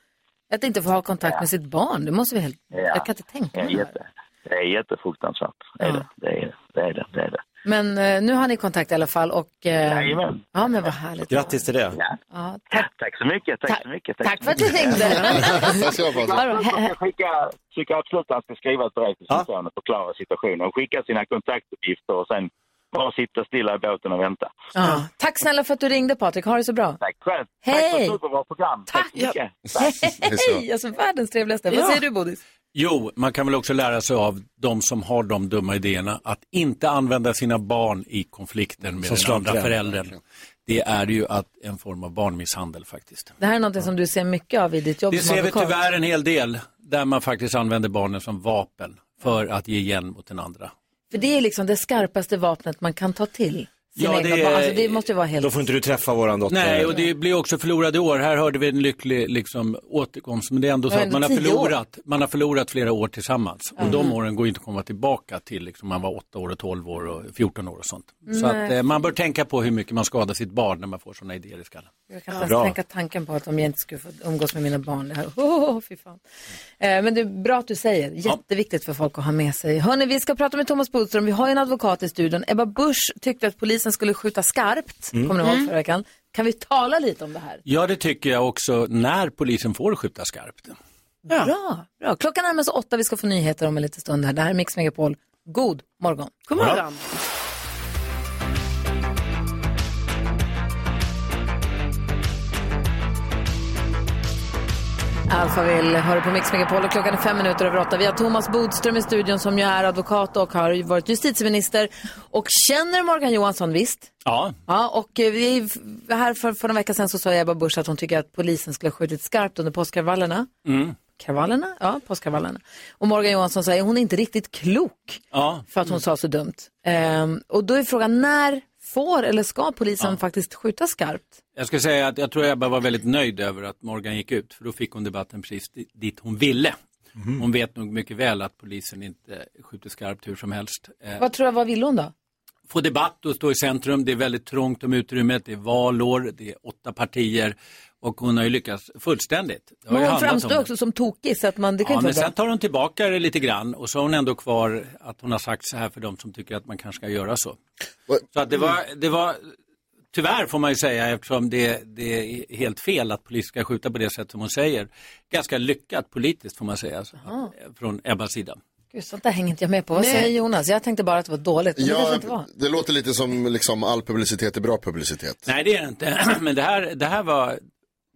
[SPEAKER 1] att inte få ha kontakt med sitt barn. Det måste vi helt,
[SPEAKER 14] Ja.
[SPEAKER 1] jag kan inte tänka
[SPEAKER 14] Det är,
[SPEAKER 1] mig.
[SPEAKER 14] jätte, det är jättefruktansvärt. Det är det. Det är det. Det är det. det, är det.
[SPEAKER 1] Men eh, nu har ni kontakt i alla fall och... Eh,
[SPEAKER 14] Jajamän.
[SPEAKER 1] ja, men vad härligt.
[SPEAKER 2] Grattis till det.
[SPEAKER 1] Ja,
[SPEAKER 14] Tack så mycket. Tack så mycket.
[SPEAKER 1] tack för att du ringde.
[SPEAKER 14] Jag ska
[SPEAKER 1] Vadå, he-
[SPEAKER 14] skicka- tycker absolut att han ska skriva ett brev till sin son och förklara situationen. Och skicka sina kontaktuppgifter och sen bara sitta stilla i båten och vänta.
[SPEAKER 1] ja. Tack snälla för att du ringde Patrik, ha det så bra.
[SPEAKER 14] Tack själv. Tack för
[SPEAKER 1] Hej!
[SPEAKER 14] ett superbra program. Tack, så mycket.
[SPEAKER 1] Hej! Alltså världens trevligaste. Vad
[SPEAKER 14] Ja.
[SPEAKER 1] säger du Bodis?
[SPEAKER 22] Jo, man kan väl också lära sig av de som har de dumma idéerna att inte använda sina barn i konflikten med
[SPEAKER 2] Som
[SPEAKER 22] den andra
[SPEAKER 2] slagträ.
[SPEAKER 22] föräldern. Det är ju att en form av barnmisshandel faktiskt.
[SPEAKER 1] Det här är något som du ser mycket av i ditt jobb
[SPEAKER 22] Det
[SPEAKER 1] som
[SPEAKER 22] ser vi
[SPEAKER 1] advokat.
[SPEAKER 22] tyvärr en hel del där man faktiskt använder barnen som vapen för att ge igen mot den andra.
[SPEAKER 1] För det är liksom det skarpaste vapnet man kan ta till. Sina
[SPEAKER 22] Ja,
[SPEAKER 1] egna
[SPEAKER 22] det är-
[SPEAKER 1] barn. Alltså, det måste ju vara helt...
[SPEAKER 2] Då får inte du träffa våran dotter.
[SPEAKER 22] Nej, och det blir också förlorade år. Här hörde vi en lycklig liksom, återkomst, men det är ändå så
[SPEAKER 1] Men
[SPEAKER 22] att man har,
[SPEAKER 1] tio år.
[SPEAKER 22] förlorat, man har förlorat flera år tillsammans. Och de
[SPEAKER 1] Mhm.
[SPEAKER 22] åren går inte att komma tillbaka till, liksom, man var 8 år och 12 år och 14 år och sånt. Så
[SPEAKER 1] Nej.
[SPEAKER 22] att, eh, man bör tänka på hur mycket man skadar sitt barn när man får sådana idéer i skallen.
[SPEAKER 1] Jag kan inte ens tänka tanken på att om jag inte skulle få umgås med mina barn. Det här. Oh, fy fan. Eh, men det är bra att du säger. Jätteviktigt för folk att ha med sig. Hörni, vi ska prata med Thomas Bodström. Vi har ju en advokat i studion. Ebba Busch tyckte att polisen skulle skjuta skarpt.
[SPEAKER 22] Mm.
[SPEAKER 1] Kommer ni ihåg
[SPEAKER 22] Mm.
[SPEAKER 1] förra veckan? Kan vi tala lite om det här?
[SPEAKER 22] Ja, det tycker jag också när polisen får skjuta skarpt.
[SPEAKER 1] Bra, bra. Klockan närmar sig åtta. Vi ska få nyheter om en liten stund. Här. Det här är Mix Megapol. God morgon.
[SPEAKER 3] God morgon.
[SPEAKER 1] Alphaville hör på Mix Megapol och klockan är fem minuter över åtta. Vi har Thomas Bodström i studion som ju är advokat och har ju varit justitieminister och känner Morgan Johansson visst.
[SPEAKER 22] Ja,
[SPEAKER 1] Ja, och eh, vi är f- här för, för några veckor sedan så sa Ebba Busch att hon tycker att polisen skulle ha skjutit skarpt under påskkravallerna.
[SPEAKER 22] Mm.
[SPEAKER 1] Kravallerna? Ja, påskkravallerna. Och Morgan Johansson säger hon är inte riktigt klok
[SPEAKER 22] Ja.
[SPEAKER 1] för att hon sa så dumt. Ehm, och då är frågan när får eller ska polisen faktiskt skjuta skarpt?
[SPEAKER 22] Jag ska säga att jag tror Ebba var väldigt nöjd över att Morgan gick ut, för då fick hon debatten precis di- dit hon ville. Hon vet nog mycket väl att polisen inte skjuter skarpt hur som helst. Eh,
[SPEAKER 1] Vad tror jag, vad vill hon då?
[SPEAKER 22] få debatt och stå i centrum. Det är väldigt trångt om utrymmet, det är valår, det är åtta partier och hon har ju lyckats fullständigt. Det har
[SPEAKER 1] Men
[SPEAKER 22] ju
[SPEAKER 1] hon
[SPEAKER 22] handlat om
[SPEAKER 1] framstår
[SPEAKER 22] det.
[SPEAKER 1] också som tokig så att man, det kan
[SPEAKER 22] Ja,
[SPEAKER 1] inte
[SPEAKER 22] men
[SPEAKER 1] vara bra.
[SPEAKER 22] sen tar hon tillbaka det lite grann och så har hon ändå kvar att hon har sagt så här för de som tycker att man kanske ska göra så. Så att det var, det var, tyvärr får man ju säga eftersom det, det är helt fel att polisen ska skjuta på det sätt som hon säger. Ganska lyckat politiskt får man säga alltså,
[SPEAKER 1] Jaha.
[SPEAKER 22] från Ebbas sida.
[SPEAKER 1] Gud, sånt där hänger inte jag med på. Vad
[SPEAKER 4] Nej.
[SPEAKER 1] säger Jonas? Jag tänkte bara att det var dåligt. Men det kanske inte var.
[SPEAKER 4] Ja, det låter lite som liksom, all publicitet är bra publicitet.
[SPEAKER 22] Nej det är det inte, men det här, det här var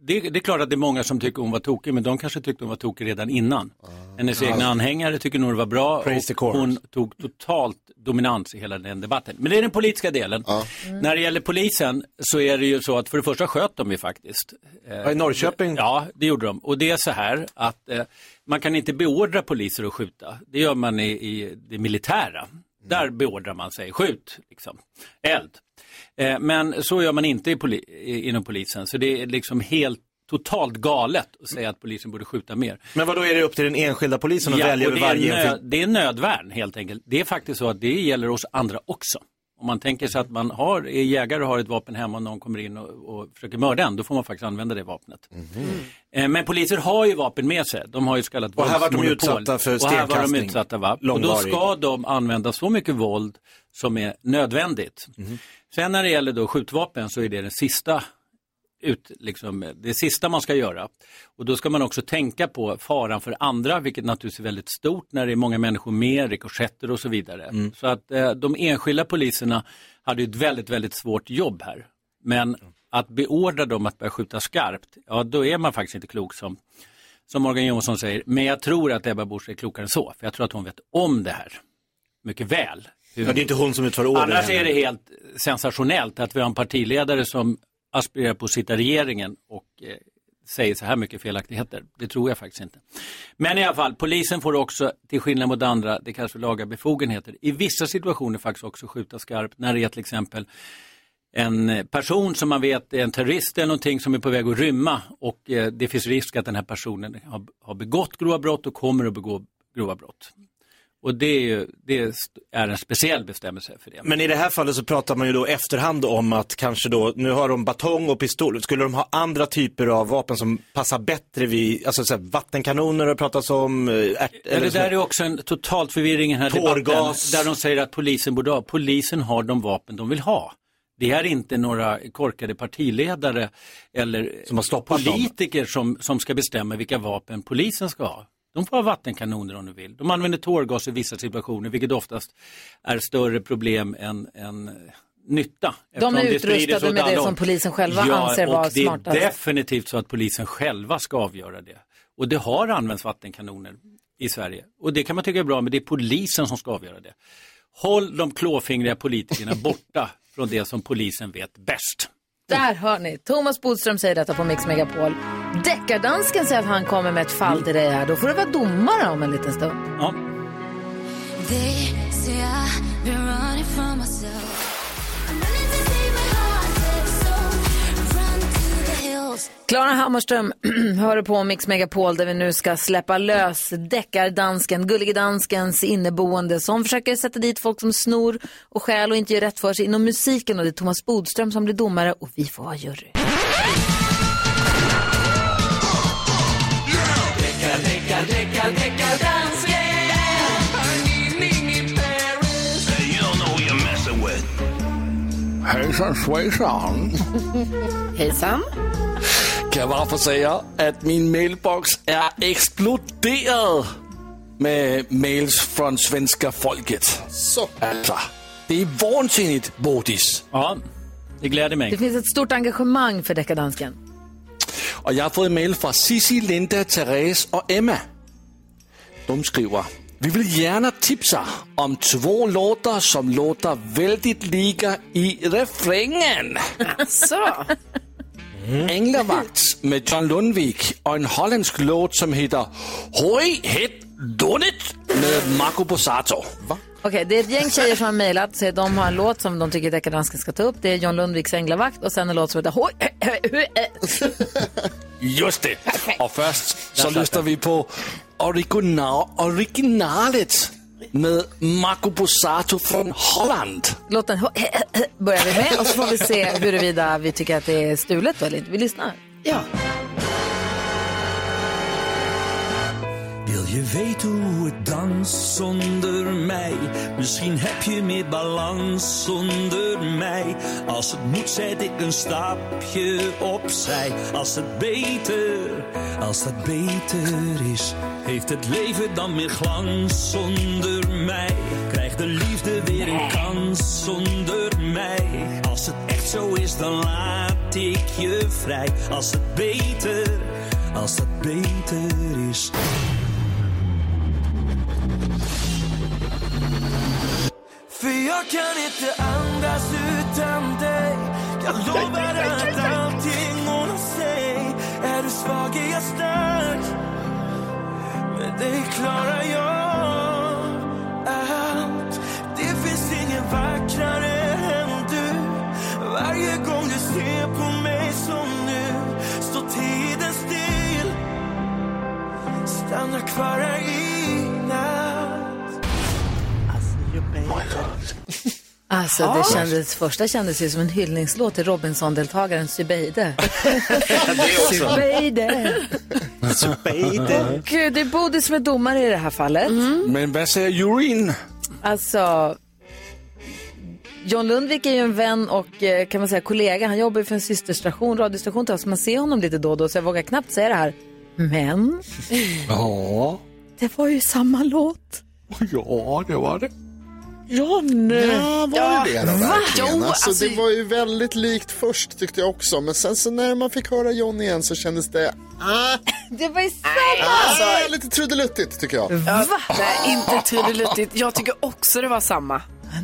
[SPEAKER 22] det, det är klart att det är många som tycker hon var tokig, men de kanske tyckte hon var tokig redan innan. Hennes
[SPEAKER 2] Ja.
[SPEAKER 22] egna anhängare tycker nog det var bra
[SPEAKER 2] Praise the
[SPEAKER 22] och hon tog totalt dominans i hela den debatten. Men det är den politiska delen. När det gäller polisen så är det ju så att för det första sköt de ju faktiskt. Eh,
[SPEAKER 2] I Norrköping?
[SPEAKER 22] Ja, det gjorde de. Och det är så här
[SPEAKER 2] Mm.
[SPEAKER 22] att eh, man kan inte beordra poliser att skjuta. Det gör man i, i det militära. Där beordrar man sig, skjut, liksom. eld. Eh, men så gör man inte i poli i- inom polisen, så det är liksom helt totalt galet att säga att polisen borde skjuta mer.
[SPEAKER 2] Men vad då är det upp till den enskilda polisen att välja
[SPEAKER 22] och
[SPEAKER 2] över
[SPEAKER 22] det, är
[SPEAKER 2] varje
[SPEAKER 22] nö,
[SPEAKER 2] enskild?
[SPEAKER 22] det är nödvärn helt enkelt. Det är faktiskt så att det gäller oss andra också. Om man tänker sig att man har, är jägare och har ett vapen hemma och någon kommer in och, och försöker mörda en, då får man faktiskt använda det vapnet.
[SPEAKER 2] Mm.
[SPEAKER 4] Mm.
[SPEAKER 22] Eh, Men poliser har ju vapen med sig. De har ju så kallat
[SPEAKER 2] Och här var de
[SPEAKER 22] våldsmonopol.
[SPEAKER 2] utsatta för
[SPEAKER 22] Och här var de
[SPEAKER 2] stenkastning.
[SPEAKER 22] utsatta, va? Och då
[SPEAKER 2] Långvarig.
[SPEAKER 22] ska de använda så mycket våld som är nödvändigt.
[SPEAKER 11] Mm-hmm.
[SPEAKER 22] Sen när det gäller då skjutvapen så är det den sista ut, liksom, det sista man ska göra. Och då ska man också tänka på faran för andra, vilket naturligtvis är väldigt stort när det är många människor med, rikoschetter och så vidare. Så att eh, de enskilda poliserna hade ju ett väldigt, väldigt svårt jobb här. Men att beordra dem att börja skjuta skarpt, ja då är man faktiskt inte klok som, som Morgan Johansson säger. Men jag tror att Ebba Busch är klokare än så, för jag tror att hon vet om det här mycket väl.
[SPEAKER 2] Ja, det är inte hon som utför order.
[SPEAKER 22] Annars är det helt sensationellt att vi har en partiledare som aspirerar på att sitta i regeringen och eh, säger så här mycket felaktigheter. Det tror jag faktiskt inte. Men i alla fall, polisen får också, till skillnad mot andra, det kallas för laga befogenheter. I vissa situationer faktiskt också skjuta skarpt när det är till exempel en eh, person som man vet är en terrorist eller någonting som är på väg att rymma och eh, det finns risk att den här personen har, har begått grova brott och kommer att begå grova brott. Och det är, ju, det är st- är en speciell bestämmelse för det.
[SPEAKER 2] Men i det här fallet så pratar man ju då efterhand om att kanske då, nu har de batong och pistol, skulle de ha andra typer av vapen som passar bättre vid, alltså så här, vattenkanoner har pratats om, eh, ärt,
[SPEAKER 22] Ja, det
[SPEAKER 2] så-
[SPEAKER 22] där är också en totalt förvirring i den här
[SPEAKER 2] Tårgas.
[SPEAKER 22] debatten. Där de säger att polisen borde ha. Polisen har de vapen de vill ha. Det är inte några korkade partiledare eller politiker som, som ska bestämma vilka vapen polisen ska ha. De får ha vattenkanoner om de vill. De använder tårgas i vissa situationer, vilket oftast är större problem än, än eh, nytta.
[SPEAKER 1] De
[SPEAKER 22] eftersom
[SPEAKER 1] är
[SPEAKER 22] det sprider sig
[SPEAKER 1] utrustade
[SPEAKER 22] åt
[SPEAKER 1] med
[SPEAKER 22] alla
[SPEAKER 1] det
[SPEAKER 22] håll.
[SPEAKER 1] som polisen själva anser
[SPEAKER 22] och
[SPEAKER 1] vara
[SPEAKER 22] det är
[SPEAKER 1] smartast.
[SPEAKER 22] definitivt så att polisen själva ska avgöra det. Och det har använts vattenkanoner i Sverige. Och det kan man tycka är bra, men det är polisen som ska avgöra det. Håll de klåfingriga politikerna borta från det som polisen vet bäst.
[SPEAKER 1] Där hör ni. Thomas Bodström säger detta på Mix Megapol. Deckardansken säger att han kommer med ett fall till dig här. Då får du vara domare om en liten stund.
[SPEAKER 22] Ja.
[SPEAKER 11] They say I've been running from myself.
[SPEAKER 1] Klara Hammarström hör du på Mix Megapol där vi nu ska släppa lös deckardansken, gullige danskens inneboende som försöker sätta dit folk som snor och stjäl och inte gör rätt för sig inom musiken och det är Thomas Bodström som blir domare och vi får vara jury.
[SPEAKER 9] Hejsan svejsan.
[SPEAKER 1] Hejsan.
[SPEAKER 8] Kan jag bara få säga att min mailbox är exploderad med mails från svenska folket.
[SPEAKER 4] Så.
[SPEAKER 8] Alltså, det är vansinnigt, Bodis.
[SPEAKER 22] Ja, det gläder
[SPEAKER 1] Det
[SPEAKER 8] mig.
[SPEAKER 1] finns ett stort engagemang för deckardansken.
[SPEAKER 8] Och jag har fått mail från Sissi, Linda, Therese och Emma. De skriver, vi vill gärna tipsa om två låtar som låter väldigt lika i refrängen.
[SPEAKER 3] Så.
[SPEAKER 8] Änglavakt med John Lundvik och en holländsk låt som heter Hoi het donnet med Marco Borsato.
[SPEAKER 1] Okej, det är ett gäng tjejer som har mejlat säger de har en låt som de tycker deckardansken ska ta upp. Det är John Lundviks Änglavakt och sen en låt som heter Hoj,
[SPEAKER 8] Just det! Och först så lyssnar vi på original, originalet med Marco Borsato från Holland.
[SPEAKER 1] Låten börjar vi med och så får vi se huruvida vi tycker att det är stulet eller inte. Vi lyssnar. Ja.
[SPEAKER 23] Wil je weten hoe het dans zonder mij? Misschien heb je meer balans zonder mij. Als het moet zet ik een stapje opzij. Als het beter, als dat beter is. Heeft het leven dan meer glans zonder mij? Krijgt de liefde weer een kans zonder mij? Als het echt zo is, dan laat ik je vrij. Als het beter, als dat beter is.
[SPEAKER 15] För jag kan inte andas utan dig Jag lovar att allting ordnar sig Är du svag är jag stark Men det klarar jag allt Det Tack vare inaut
[SPEAKER 1] Alltså
[SPEAKER 6] Ja.
[SPEAKER 1] det kändes, första kändes ju som en hyllningslåt till Robinson-deltagaren Zubeide. Zubeide.
[SPEAKER 8] Zubeide.
[SPEAKER 1] Och eh, det är Bodil som är domare i det här fallet.
[SPEAKER 8] Men vad säger juryn?
[SPEAKER 1] Alltså, John Lundvik är ju en vän och eh, kan man säga kollega. Han jobbar ju för en systerstation, radiostation till oss. Man ser honom lite då och då så jag vågar knappt säga det här. Men
[SPEAKER 8] Ja.
[SPEAKER 1] det var ju samma låt.
[SPEAKER 8] Ja, det var det.
[SPEAKER 1] John!
[SPEAKER 4] Ja, var
[SPEAKER 1] Ja.
[SPEAKER 4] det det då
[SPEAKER 1] Va?
[SPEAKER 4] verkligen?
[SPEAKER 1] Jo,
[SPEAKER 4] alltså,
[SPEAKER 1] alltså-
[SPEAKER 4] det var ju väldigt likt först tyckte jag också. Men sen så när man fick höra John igen så kändes det
[SPEAKER 1] Det var ju
[SPEAKER 4] ah,
[SPEAKER 3] Alltså,
[SPEAKER 4] lite trudeluttigt tycker jag.
[SPEAKER 3] Ja, nej, inte trudeluttigt. Jag tycker också det var samma.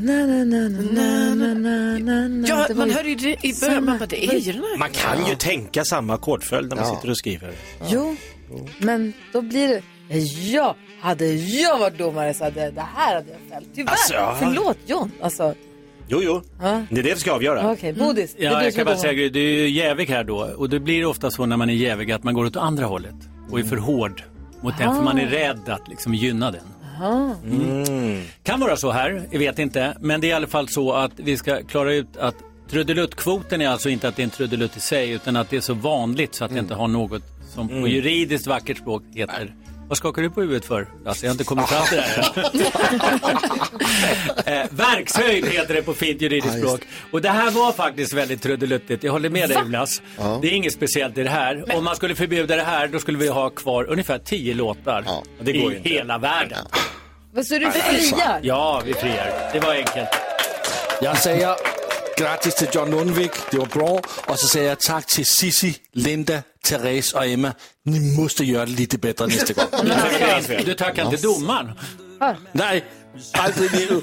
[SPEAKER 1] Na, na, na, na, na, na, na, na.
[SPEAKER 3] Ja,
[SPEAKER 1] Det var
[SPEAKER 3] man
[SPEAKER 1] ju
[SPEAKER 3] hör ju det i början. Man bara, det är ju den här.
[SPEAKER 2] Man kan ju tänka samma ackordföljd när man
[SPEAKER 4] Ja.
[SPEAKER 2] sitter och skriver.
[SPEAKER 1] Jo, men då blir det... Ja, hade jag varit domare så hade jag- det här hade jag fällt. Tyvärr.
[SPEAKER 2] Alltså, ja.
[SPEAKER 1] Förlåt John. Alltså,
[SPEAKER 2] Jo, jo.
[SPEAKER 1] ja.
[SPEAKER 2] Det är det vi ska avgöra.
[SPEAKER 1] Okej, Bodis. det är
[SPEAKER 22] Mm. Ja,
[SPEAKER 1] du
[SPEAKER 22] jag
[SPEAKER 1] som
[SPEAKER 22] kan
[SPEAKER 1] är
[SPEAKER 22] bara
[SPEAKER 1] domare.
[SPEAKER 22] säga Gry, det är ju jävig här då. Och det blir ofta så när man är jävig att man går åt andra hållet och är för hård mot den
[SPEAKER 1] Ah.
[SPEAKER 22] för man är rädd att liksom gynna den.
[SPEAKER 1] Jaha.
[SPEAKER 15] Mm.
[SPEAKER 22] Kan vara så här, jag vet inte. Men det är i alla fall så att vi ska klara ut att trudeluttkvoten är alltså inte att det är en trudelutt i sig utan att det är så vanligt så att
[SPEAKER 2] Mm.
[SPEAKER 22] det inte har något som på
[SPEAKER 15] Mm.
[SPEAKER 22] juridiskt vackert språk heter. Vad skakar du på huvudet för? Lasse, jag har inte kommit fram till det här. Eh, verkshöjd heter det på fint juridiskt språk. Och det här var faktiskt väldigt trudeluttigt. Jag håller med dig Jonas. Det är inget speciellt i det här. Om man skulle förbjuda det här då skulle vi ha kvar ungefär tio låtar
[SPEAKER 2] det går
[SPEAKER 22] i
[SPEAKER 2] ju inte.
[SPEAKER 22] hela världen.
[SPEAKER 1] Vad så du friar?
[SPEAKER 22] Ja, vi friar. Det var enkelt.
[SPEAKER 8] Jag säger grattis till John Lundvik, det var bra. Och så säger jag tack till Sissi, Linda, Therese och Emma. Ni måste göra det lite bättre nästa gång.
[SPEAKER 22] Du tackar inte domaren.
[SPEAKER 8] Nej, aldrig nu.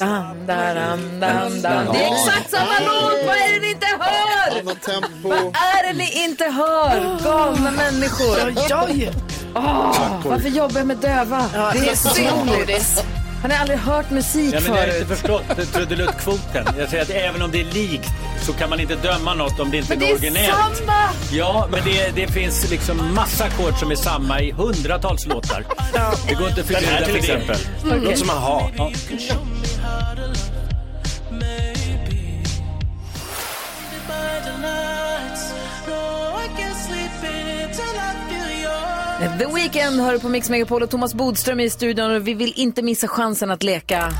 [SPEAKER 1] Dam, daram, dam, dam. Det är exakt samma låt! Vad är det ni inte hör? Vad är det ni inte hör? Galna människor.
[SPEAKER 3] Ja, jag ju.
[SPEAKER 1] Åh, Ah, varför jobbar jag med döva?
[SPEAKER 3] Ja,
[SPEAKER 1] Det är
[SPEAKER 3] så synd,
[SPEAKER 1] synd.
[SPEAKER 3] Bodis.
[SPEAKER 1] Har ni aldrig hört musik
[SPEAKER 22] Ja, men jag har
[SPEAKER 1] förut?
[SPEAKER 22] inte förstått trudeluttkvoten. Jag säger att även om det är likt så kan man inte döma något om det inte
[SPEAKER 1] Men det
[SPEAKER 22] är
[SPEAKER 1] är
[SPEAKER 22] originellt.
[SPEAKER 1] samma!
[SPEAKER 22] Ja, men det, det finns liksom massa ackord som är samma i hundratals låtar. Det går inte att
[SPEAKER 2] Den
[SPEAKER 22] förbjuda
[SPEAKER 2] här till
[SPEAKER 22] för det.
[SPEAKER 2] exempel.
[SPEAKER 22] Mm.
[SPEAKER 2] Låt som aha.
[SPEAKER 22] Ja.
[SPEAKER 1] The Weeknd hör på Mix Megapol och Thomas Bodström är i studion och vi vill inte missa chansen att leka.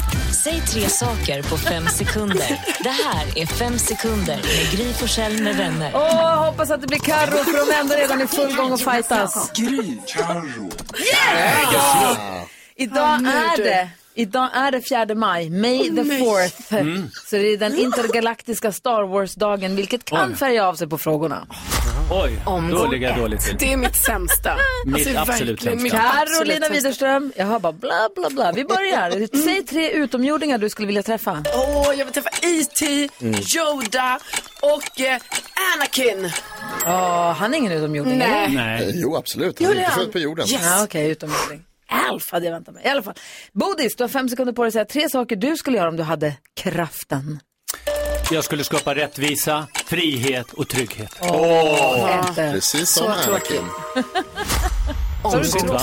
[SPEAKER 7] Säg tre saker på fem sekunder. Det här är Fem sekunder med Gry Forssell med vänner.
[SPEAKER 1] Åh, hoppas att det blir Carro för de är ändå redan i full gång och fightas.
[SPEAKER 9] Gry, Carro.
[SPEAKER 1] Idag
[SPEAKER 6] nu
[SPEAKER 1] är
[SPEAKER 6] du.
[SPEAKER 1] det. Idag är det 4 maj, May the 4th.
[SPEAKER 6] Mm.
[SPEAKER 1] Så det är den intergalaktiska Star Wars-dagen, vilket kan färga av sig på frågorna.
[SPEAKER 22] Oj, då ligger jag dåligt till.
[SPEAKER 3] Det är mitt sämsta. Alltså,
[SPEAKER 22] Mitt absolut sämsta.
[SPEAKER 1] Carolina Widerström, jag hör bara bla bla bla. Vi börjar. Säg tre utomjordingar du skulle vilja träffa.
[SPEAKER 3] Mm. Åh, jag vill träffa E.T.,
[SPEAKER 1] Mm.
[SPEAKER 3] Yoda och eh, Anakin.
[SPEAKER 1] Ja, han är ingen utomjording,
[SPEAKER 3] Nej.
[SPEAKER 1] eller?
[SPEAKER 22] Nej.
[SPEAKER 4] Jo, absolut.
[SPEAKER 1] Jo,
[SPEAKER 4] Han
[SPEAKER 1] det
[SPEAKER 4] är
[SPEAKER 1] är
[SPEAKER 4] inte
[SPEAKER 1] han.
[SPEAKER 4] född på jorden.
[SPEAKER 1] Yes. Ja, okej, utomjording. Alf hade jag väntat mig. I alla fall. Bodis, du har fem sekunder på dig att säga tre saker du skulle göra om du hade kraften.
[SPEAKER 22] Jag skulle skapa rättvisa, frihet och trygghet.
[SPEAKER 1] Åh, inte.
[SPEAKER 4] Precis
[SPEAKER 1] som Så Anakin. tråkigt.
[SPEAKER 22] Konstigt, va?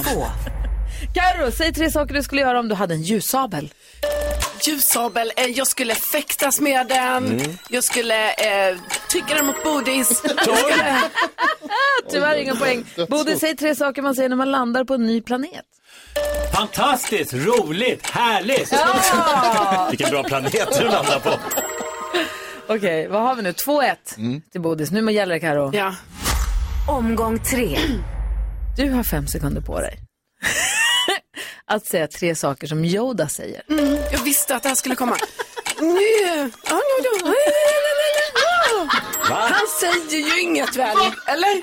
[SPEAKER 1] Carro, säg tre saker du skulle göra om du hade en ljussabel.
[SPEAKER 3] Ljussabel, eh, jag skulle fäktas med den.
[SPEAKER 1] Mm.
[SPEAKER 3] Jag skulle eh, trycka den mot Bodis. Jag skulle-
[SPEAKER 1] Tyvärr inga poäng. Bodil, säg tre saker man säger när man landar på en ny planet.
[SPEAKER 22] Fantastiskt, roligt, härligt!
[SPEAKER 2] Vilken bra planet du landar på.
[SPEAKER 1] Okej, vad har vi nu? 2-1
[SPEAKER 4] Mm.
[SPEAKER 1] till Bodis. Nu må gäller det, Karo.
[SPEAKER 3] Ja.
[SPEAKER 1] Omgång tre. Du har fem sekunder på dig. att säga tre saker som Yoda säger.
[SPEAKER 3] Mm, jag visste att det här skulle komma. Nu! Ja, nu, nu.
[SPEAKER 2] Va?
[SPEAKER 3] Han säger ju inget väl, eller?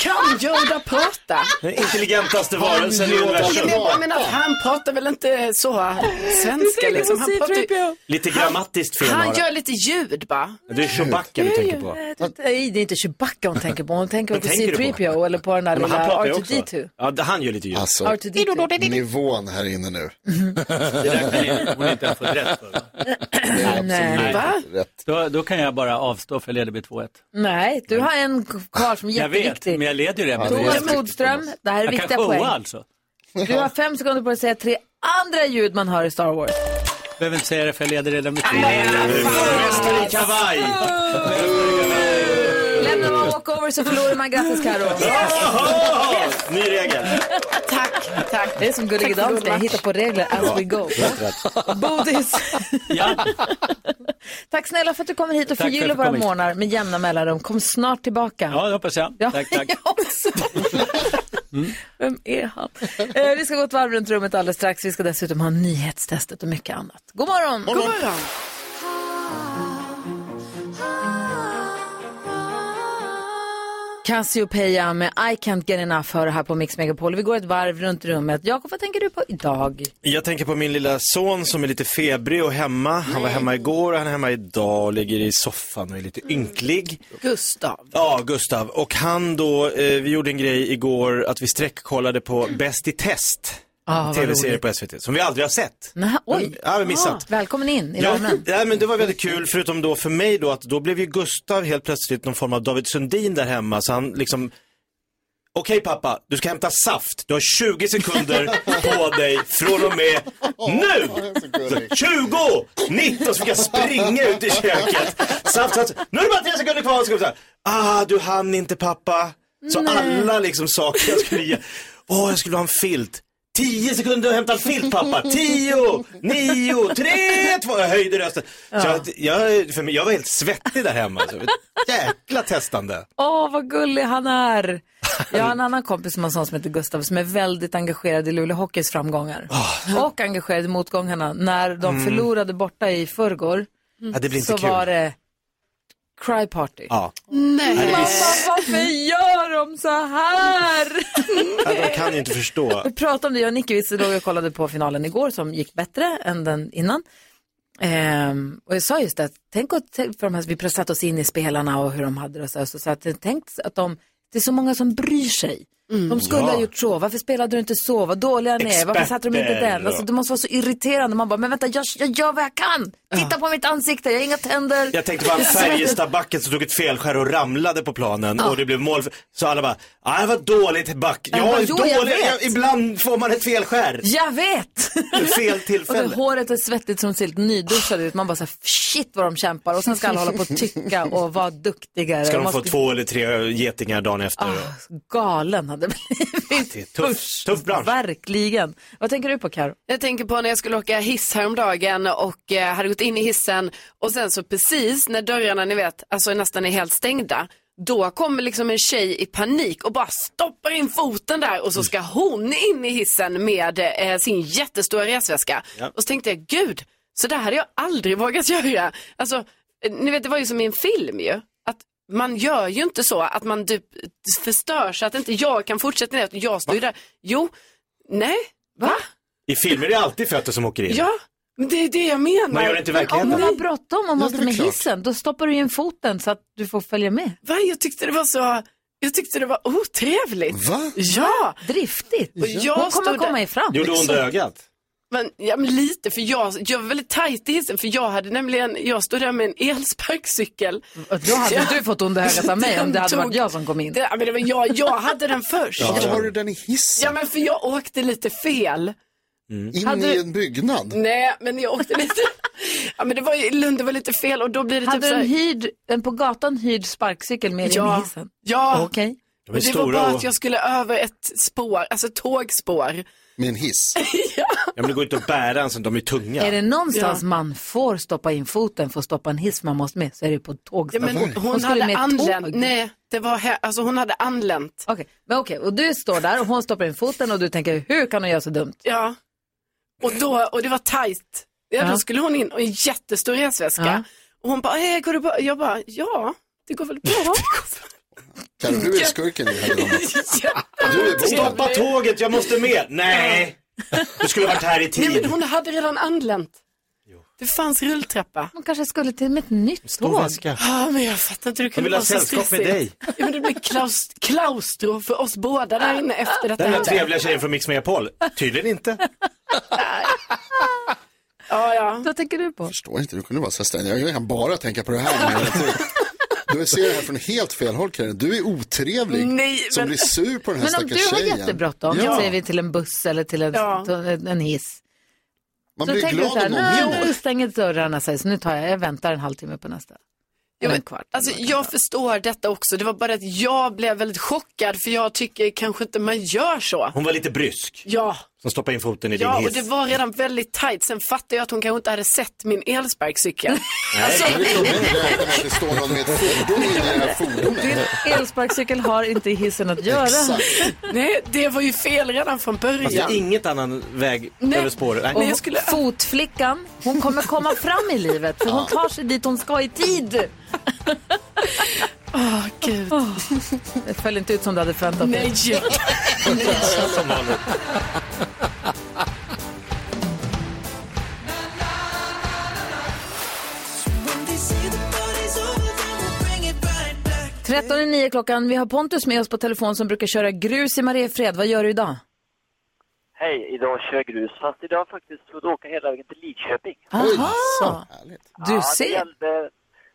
[SPEAKER 3] Kan Yoda prata?
[SPEAKER 2] Den intelligentaste varelsen i universum.
[SPEAKER 3] Jag menar att han pratar väl inte så svenska liksom. Han, pratar ju,
[SPEAKER 2] Lite grammatiskt fel
[SPEAKER 3] han
[SPEAKER 2] har
[SPEAKER 3] gör lite ljud bara.
[SPEAKER 2] Det är Chewbacca du tänker på.
[SPEAKER 1] Nej, Eh, det är inte Chewbacca hon tänker på. Hon tänker väl
[SPEAKER 2] Vad
[SPEAKER 1] på
[SPEAKER 2] tänker du på?
[SPEAKER 1] C3PO eller på den där
[SPEAKER 2] Men han
[SPEAKER 1] lilla
[SPEAKER 2] pratar ju också.
[SPEAKER 1] R2D2.
[SPEAKER 2] Ja, det- han gör lite ljud.
[SPEAKER 4] Alltså,
[SPEAKER 1] R2D2.
[SPEAKER 4] nivån här inne nu.
[SPEAKER 22] Det där kan ni- hon inte ha fått rätt för. va?
[SPEAKER 4] det är absolut
[SPEAKER 1] Nej. Va?
[SPEAKER 4] rätt.
[SPEAKER 22] Då, då kan jag bara avstå för jag leder med 2-1.
[SPEAKER 1] Nej, du har en kvar som är
[SPEAKER 22] Jag vet,
[SPEAKER 1] jätteviktig.
[SPEAKER 22] men jag leder ju redan. med
[SPEAKER 1] Thomas
[SPEAKER 22] 2-1.
[SPEAKER 1] Bodström, det här är
[SPEAKER 22] Jag
[SPEAKER 1] viktiga
[SPEAKER 22] kan showa
[SPEAKER 1] poäng.
[SPEAKER 22] alltså.
[SPEAKER 1] Du har fem sekunder på dig att säga tre andra ljud man hör i Star Wars.
[SPEAKER 22] Behöver inte säga det för jag leder redan med 2-1.
[SPEAKER 2] Mästare i kavaj!
[SPEAKER 1] Lämnar man walkover så förlorar man. Grattis Karo.
[SPEAKER 2] Ny regel.
[SPEAKER 1] Tack, tack. Det är som Gullige
[SPEAKER 6] Tack för
[SPEAKER 1] Dansken, jag hittar på regler as we go. Bodis. Tack snälla för att du kommer hit och
[SPEAKER 22] Tack för att
[SPEAKER 1] förgyller
[SPEAKER 22] jag
[SPEAKER 1] våra
[SPEAKER 22] kom hit.
[SPEAKER 1] morgnar med jämna mellanrum. Kom snart tillbaka.
[SPEAKER 22] Ja, det hoppas jag. Tack, tack. Mm.
[SPEAKER 1] Vem är han? Eh, vi ska gå ett varv runt rummet alldeles strax. Vi ska dessutom ha nyhetstestet och mycket annat. God morgon!
[SPEAKER 4] God morgon.
[SPEAKER 1] Cassiopeia med I can't get enough hör här på Mix Megapol. Vi går ett varv runt rummet. Jakob, vad tänker du på idag?
[SPEAKER 2] Jag tänker på min lilla son som är lite febrig och hemma. Han var hemma igår och han är hemma idag och ligger i soffan och är
[SPEAKER 1] Mm.
[SPEAKER 2] lite ynklig.
[SPEAKER 3] Gustav.
[SPEAKER 2] Ja, Gustav. Och han då, eh, vi gjorde en grej igår att vi sträckkollade på Bäst i test.
[SPEAKER 1] Ah, vad
[SPEAKER 2] TV-serie
[SPEAKER 1] roligt.
[SPEAKER 2] på SVT, som vi aldrig har sett.
[SPEAKER 1] Nä, oj!
[SPEAKER 2] Ja, vi missat.
[SPEAKER 1] välkommen in i
[SPEAKER 2] Ja,
[SPEAKER 1] värmen.
[SPEAKER 2] ja, men det var väldigt kul, förutom då för mig då att då blev ju Gustav helt plötsligt någon form av David Sundin där hemma, så han liksom Okej pappa, du ska hämta saft. Du har 20 sekunder på dig från och med nu! 20! 19! Så fick jag springa ut i köket. Saft, saft. Nu är det bara 3 sekunder kvar. Så kom det så här, ah, du hann inte pappa. Så
[SPEAKER 12] Nej.
[SPEAKER 2] alla liksom saker jag skulle ge. Åh, jag skulle ha en filt. 10 sekunder att hämta en filt pappa. 10, 9, 3, 2. Jag höjde rösten. Så jag, jag, för mig, jag var helt svettig där hemma. Så, jäkla testande.
[SPEAKER 1] Åh, vad gullig han är! Jag har en annan kompis som har en sån som heter Gustav som är väldigt engagerad i Luleå Hockeys framgångar. Och engagerad i motgångarna. När de
[SPEAKER 2] Mm.
[SPEAKER 1] förlorade borta i förrgår
[SPEAKER 2] Ja, det blir inte
[SPEAKER 1] så
[SPEAKER 2] kul.
[SPEAKER 1] var det cry party.
[SPEAKER 2] Ja.
[SPEAKER 1] Nej.
[SPEAKER 2] Ja, det
[SPEAKER 1] Mamma,
[SPEAKER 2] blir-
[SPEAKER 1] varför gör de så här?
[SPEAKER 2] Ja, de kan ju inte förstå.
[SPEAKER 1] Vi pratade om det, jag och Nicky vi låg och kollade på finalen igår som gick bättre än den innan. Ehm, och jag sa just det, att tänk att tänk för de här, vi satte oss in i spelarna och hur de hade det och så, här, så, så att, tänk att de, det är så många som bryr sig.
[SPEAKER 2] Mm.
[SPEAKER 1] De skulle
[SPEAKER 6] Ja.
[SPEAKER 1] ha gjort så, varför spelade du inte så, vad dåliga ni är, varför satte de inte
[SPEAKER 6] Experter.
[SPEAKER 1] den? Alltså, det måste vara så irriterande, man bara, men vänta, jag, jag gör vad jag kan, titta på mitt ansikte, jag har inga tänder.
[SPEAKER 2] Jag tänkte bara Färjestadbacken som tog ett felskär och ramlade på planen
[SPEAKER 1] Ja.
[SPEAKER 2] och det blev mål. för- Så alla bara, ah, det var dåligt back.
[SPEAKER 1] Ja,
[SPEAKER 2] Ja,
[SPEAKER 1] jo, jag
[SPEAKER 2] dåligt.
[SPEAKER 1] vet.
[SPEAKER 2] Ja, Ibland får man ett felskär.
[SPEAKER 1] Jag vet!
[SPEAKER 2] Fel
[SPEAKER 1] Och
[SPEAKER 2] tillfälle.
[SPEAKER 1] det, håret är svettigt som ser helt nyduschad ut. Man bara så här, shit vad de kämpar. Och sen ska alla hålla på och tycka och vara duktigare.
[SPEAKER 2] Ska de
[SPEAKER 1] Man
[SPEAKER 2] få
[SPEAKER 1] skulle-
[SPEAKER 2] två eller tre getingar dagen efter.
[SPEAKER 1] Ah, galen hade blivit.
[SPEAKER 2] Tuff, tuff bransch.
[SPEAKER 1] Verkligen. Vad tänker du på Karo?
[SPEAKER 3] Jag tänker på när jag skulle åka hiss häromdagen och eh, hade gått in i hissen och sen så precis när dörrarna ni vet, alltså nästan är helt stängda, då kommer liksom en tjej i panik och bara stoppar in foten där och så ska hon in i hissen med eh, sin jättestora resväska.
[SPEAKER 14] Ja.
[SPEAKER 3] Och så tänkte jag, gud, så där hade jag aldrig vågat göra. Alltså, eh, ni vet det var ju som i en film ju. Att man gör ju inte så att man typ förstör så att inte jag kan fortsätta ner. Jag står ju där. Jo, nej, va?
[SPEAKER 2] I filmer är det alltid fötter som åker in.
[SPEAKER 3] Ja, men det är det jag menar.
[SPEAKER 2] Man gör det inte i verkligheten.
[SPEAKER 1] Om man
[SPEAKER 3] Nej.
[SPEAKER 1] har bråttom och måste
[SPEAKER 3] det är
[SPEAKER 1] med
[SPEAKER 3] klart.
[SPEAKER 1] hissen, då stoppar du in foten så att du får följa med.
[SPEAKER 3] Va? Jag tyckte det var så... Jag tyckte det var otrevligt.
[SPEAKER 4] Va?
[SPEAKER 3] Ja.
[SPEAKER 1] Driftigt.
[SPEAKER 3] Och jag
[SPEAKER 1] Hon
[SPEAKER 3] stod
[SPEAKER 1] kommer komma
[SPEAKER 3] där-
[SPEAKER 1] ifrån.
[SPEAKER 2] Gjorde ont i ögat?
[SPEAKER 3] Men, ja, men lite, för jag, jag var väldigt tajt i hissen för jag hade nämligen, jag stod där med en elsparkcykel.
[SPEAKER 1] Då hade du fått ont i ögat av mig om det hade
[SPEAKER 3] Den
[SPEAKER 1] varit jag som kom in.
[SPEAKER 3] Det, ja, men det var jag, jag hade den först.
[SPEAKER 4] Ja. Varför har du den i hissen?
[SPEAKER 3] Ja men för jag åkte lite fel.
[SPEAKER 1] Mm.
[SPEAKER 4] In
[SPEAKER 3] Hade
[SPEAKER 4] i
[SPEAKER 3] du-
[SPEAKER 4] en byggnad.
[SPEAKER 3] Nej men jag åkte lite, ja men det var ju, Lund det var lite fel och då blir det
[SPEAKER 1] Hade
[SPEAKER 3] typ
[SPEAKER 1] du
[SPEAKER 3] så
[SPEAKER 1] en,
[SPEAKER 3] här,
[SPEAKER 1] hyrd, en på gatan hyrd sparkcykel med dig in
[SPEAKER 3] Ja.
[SPEAKER 1] i hissen?
[SPEAKER 3] Ja.
[SPEAKER 1] Okej.
[SPEAKER 3] Och det var bara att jag skulle över ett spår, alltså ett tågspår.
[SPEAKER 4] Med en hiss?
[SPEAKER 2] Ja, men det går inte att bära en sån, de är tunga.
[SPEAKER 1] Är det någonstans man får stoppa in foten för att stoppa en hiss man måste med så är det på ett tåg.
[SPEAKER 3] Ja, men hon,
[SPEAKER 1] skulle
[SPEAKER 3] hade
[SPEAKER 1] med ett
[SPEAKER 3] anlänt.
[SPEAKER 1] tåg.
[SPEAKER 3] Nej, det var här, alltså hon hade anlänt.
[SPEAKER 1] Okej, men okej, och du står där och hon stoppar in foten och du tänker hur kan hon göra så dumt?
[SPEAKER 3] Ja. Och, då, och det var tajt. Ja,
[SPEAKER 1] Ja.
[SPEAKER 3] Då skulle hon in och en jättestor resväska.
[SPEAKER 1] Ja.
[SPEAKER 3] Och hon bara, "Eh, går det bra? Jag bara, ja, det går väl bra.
[SPEAKER 4] Kan du är skurken i det här dramat.
[SPEAKER 2] Stoppa tåget, jag måste med. Nej, du skulle varit här i
[SPEAKER 3] Nej,
[SPEAKER 2] tid.
[SPEAKER 3] men hon hade redan anlänt. Det fanns rulltrappa.
[SPEAKER 1] Hon kanske skulle till med ett nytt
[SPEAKER 2] Stor
[SPEAKER 1] tåg.
[SPEAKER 2] väska.
[SPEAKER 3] Ja, men jag fattar inte hur det
[SPEAKER 2] Jag
[SPEAKER 3] kunde
[SPEAKER 2] vill ha
[SPEAKER 3] vara så
[SPEAKER 2] sällskap med
[SPEAKER 3] stressigt.
[SPEAKER 2] dig.
[SPEAKER 3] Ja, men det blev klaus klaustro för oss båda där inne efter detta
[SPEAKER 2] Den där
[SPEAKER 3] hände.
[SPEAKER 2] trevliga tjejen från Mix Megapol, tydligen inte.
[SPEAKER 3] Ja, ja.
[SPEAKER 6] Vad tänker du på?
[SPEAKER 4] förstår inte, du kunde vara så här stängd. Jag kan bara tänka på det här. nu. Du ser det här från helt fel håll Karin. Du är otrevlig
[SPEAKER 3] Nej,
[SPEAKER 4] som
[SPEAKER 3] men-
[SPEAKER 4] blir sur på den här
[SPEAKER 1] Men om
[SPEAKER 4] stackars
[SPEAKER 1] du har
[SPEAKER 4] tjejen.
[SPEAKER 1] jättebråttom,
[SPEAKER 4] Ja.
[SPEAKER 1] säger vi till en buss eller till en,
[SPEAKER 4] Ja.
[SPEAKER 1] till en- en hiss.
[SPEAKER 4] Man
[SPEAKER 1] så
[SPEAKER 4] blir
[SPEAKER 1] tänker du
[SPEAKER 4] glad
[SPEAKER 1] så här,
[SPEAKER 4] om någon
[SPEAKER 1] nej,
[SPEAKER 4] vinner.
[SPEAKER 1] nu stänger dörrarna sig, så nu tar jag, jag väntar en halvtimme på nästa.
[SPEAKER 3] Jag, vet- alltså, jag förstår detta också. Det var bara att jag blev väldigt chockad för jag tycker kanske inte man gör så.
[SPEAKER 2] Hon var lite brysk.
[SPEAKER 3] Ja,
[SPEAKER 2] Som stoppade in foten i din
[SPEAKER 3] ja och
[SPEAKER 2] hiss.
[SPEAKER 3] det var redan väldigt tajt. Sen fattade jag att hon kanske inte hade sett min elsparkcykel.
[SPEAKER 4] Alltså... Det är jobbigt att räkna med att det står någon med ett
[SPEAKER 3] Alltså,
[SPEAKER 4] fordon inne i det här
[SPEAKER 1] Din
[SPEAKER 4] fordonet.
[SPEAKER 1] elsparkcykel har inte i hissen att göra.
[SPEAKER 3] Nej, det var ju fel redan från början.
[SPEAKER 2] Fast det
[SPEAKER 4] Alltså,
[SPEAKER 2] är Alltså, inget annan väg
[SPEAKER 1] Nej.
[SPEAKER 2] över spåret.
[SPEAKER 1] Och Fotflickan, hon kommer komma fram i livet för hon tar sig dit hon ska i tid.
[SPEAKER 3] Åh, gud.
[SPEAKER 1] Det föll inte ut som du hade förväntat dig.
[SPEAKER 3] Nej.
[SPEAKER 2] Som vanligt.
[SPEAKER 11] When they say the party's over, then we'll bring it right back.
[SPEAKER 1] 13.09 klockan, vi har Pontus med oss på telefon som brukar köra grus i Mariefred. Vad gör du idag?
[SPEAKER 12] Hej, idag kör jag grus. Fast idag faktiskt får du åka hela vägen till Lidköping.
[SPEAKER 1] Aha! Du
[SPEAKER 12] ja,
[SPEAKER 1] ser.
[SPEAKER 12] Det gäller,